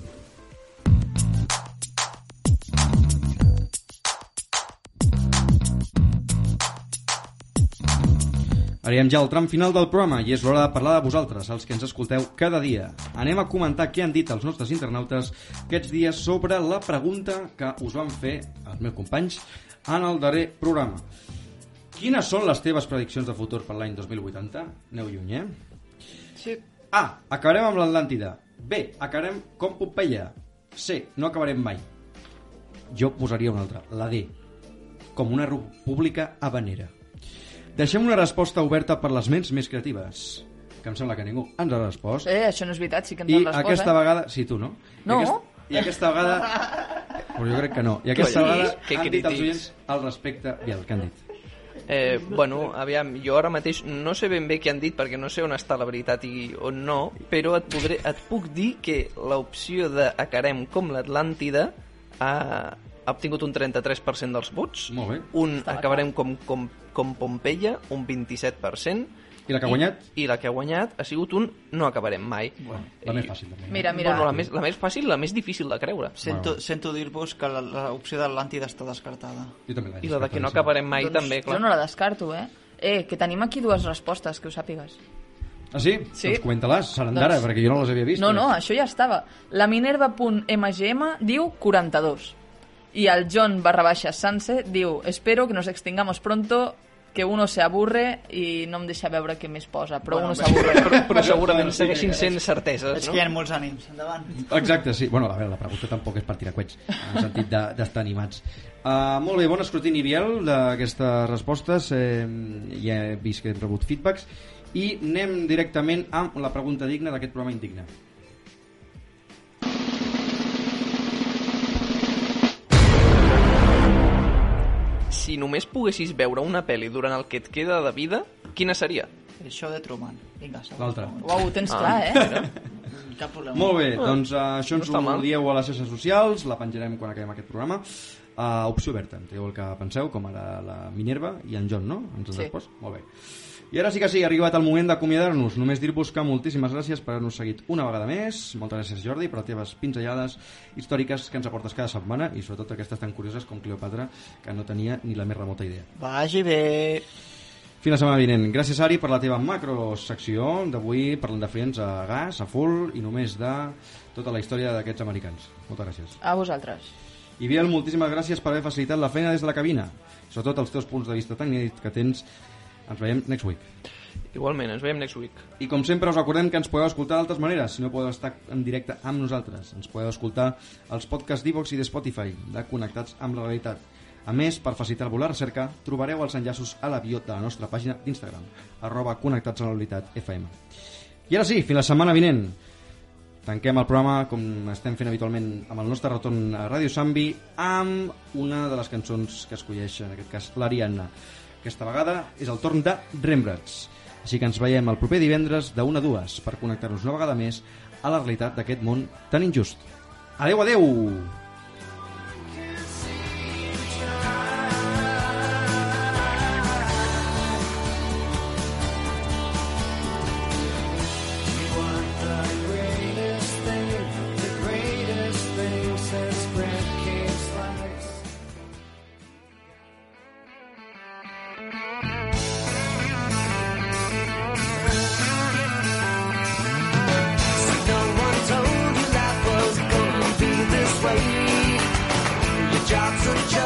S2: Arribem ja al tram final del programa i és l'hora de parlar de vosaltres, els que ens escolteu cada dia. Anem a comentar què han dit els nostres internautes aquests dies sobre la pregunta que us van fer els meus companys en el darrer programa. Quines són les teves prediccions de futur per l'any 2080? Aneu lluny, eh?
S4: Sí.
S2: A. Acabarem amb l'Atlàntida. B. Acabarem com Pompeia. C. No acabarem mai. Jo posaria una altra, la D. Com una república habanera. Deixem una resposta oberta per les ments més creatives, que em sembla que ningú ens ha respost.
S4: Eh, això no és veritat, sí que ens
S2: I
S4: han respost,
S2: aquesta
S4: eh?
S2: vegada... Sí, tu, no?
S4: No?
S2: I aquesta, i aquesta vegada... Però jo crec que no. I aquesta
S1: Que sí,
S2: vegada
S1: que
S2: han dit
S1: crítics.
S2: els oients al respecte... I el que han dit.
S1: Eh, bueno, aviam, jo ara mateix no sé ben bé què han dit perquè no sé on està la veritat i on no, però et, podré, et puc dir que l'opció de acarem com l'Atlàntida ha, ha obtingut un 33% dels vots,
S2: Molt bé.
S1: un
S2: Està
S1: acabarem com, com, com Pompeia, un 27%,
S2: I la que ha guanyat?
S1: I, la que ha guanyat ha sigut un no acabarem mai. Bueno,
S2: la més fàcil, també.
S4: Ah, Mira, mira.
S1: Bueno, la, més, la més fàcil, la més difícil de creure.
S3: Sento, sento dir-vos que la- l'opció de l'Atlàntida està descartada.
S2: Jo també
S1: I la de que no acabarem mai
S3: Doncs
S1: també, clar.
S4: Jo no la descarto, eh? Eh, que tenim aquí dues respostes, que ho sàpigues.
S2: Ah, sí?
S4: Sí.
S2: Doncs comenta-les, seran d'ara,
S4: Doncs-
S2: perquè jo no les havia vist. eh.
S4: No, no, això ja estava. La Minerva.mgm diu 42. I el John barra baixa Sanse diu Espero que nos extingamos pronto, que uno se aburre i no em deixa veure què més posa, però
S1: Bueno,
S4: uno s'aburre.
S1: però, però segurament segueixin sent certeses,
S3: És
S1: no?
S3: que hi ha molts ànims. Endavant.
S2: Exacte, sí. Bueno, a veure, la pregunta tampoc és per tirar coets, en el sentit de- d'estar animats. Uh, molt bé, bon escrutini, Biel, d'aquestes respostes. Eh, ja he vist que hem rebut feedbacks. I anem directament amb la pregunta digna d'aquest programa indigne.
S1: Si només poguessis veure una pel·li durant el que et queda de vida, quina seria?
S3: El show de Truman. Vinga, segur.
S2: L'altra.
S4: Uau, ho tens clar, eh?
S3: Cap problema.
S2: Molt bé,
S3: Ah,
S2: doncs uh, això ens
S3: no està
S2: ho
S3: mal.
S2: dieu a les xarxes socials, la penjarem quan acabem aquest programa. Uh, opció oberta, en teniu el que penseu, com ara la Minerva i en John, no? Ens
S4: Sí.
S2: sí. Després? Molt bé. I ara sí que sí, ha arribat el moment d'acomiadar-nos. Només dir-vos que moltíssimes gràcies per haver-nos seguit una vegada més. Moltes gràcies, Jordi, per les teves pinzellades històriques que ens aportes cada setmana i sobretot aquestes tan curioses com Cleopatra, que no tenia ni la més remota idea.
S3: Vagi bé.
S2: Fins la setmana vinent. Gràcies, Ari, per la teva macrosecció d'avui parlant de friends a gas, a full i només de tota la història d'aquests americans. Moltes gràcies.
S4: A vosaltres.
S2: I Biel, moltíssimes gràcies per haver facilitat la feina des de la cabina. Sobretot els teus punts de vista tan inèdits que tens. Ens veiem next week.
S1: Igualment, ens veiem next week.
S2: I com sempre us recordem que ens podeu escoltar d'altres maneres, si no podeu estar en directe amb nosaltres. Ens podeu escoltar als podcasts d'Ivox i de Spotify, de Connectats amb la Realitat. A més, per facilitar-vos la recerca, trobareu els enllaços a la bio de la nostra pàgina d'Instagram, arroba Connectats amb la Realitat FM. I ara sí, fins la setmana vinent. Tanquem el programa, com estem fent habitualment, amb el nostre retorn a Ràdio Sambi, amb una de les cançons que escolleix, en aquest cas, l'Ariadna. Aquesta vegada és el torn de Rembrandts. Així que ens veiem el proper divendres de 1 a 2 per connectar-nos una vegada més a la realitat d'aquest món tan injust. Adeu, adeu!
S5: Your job's a job.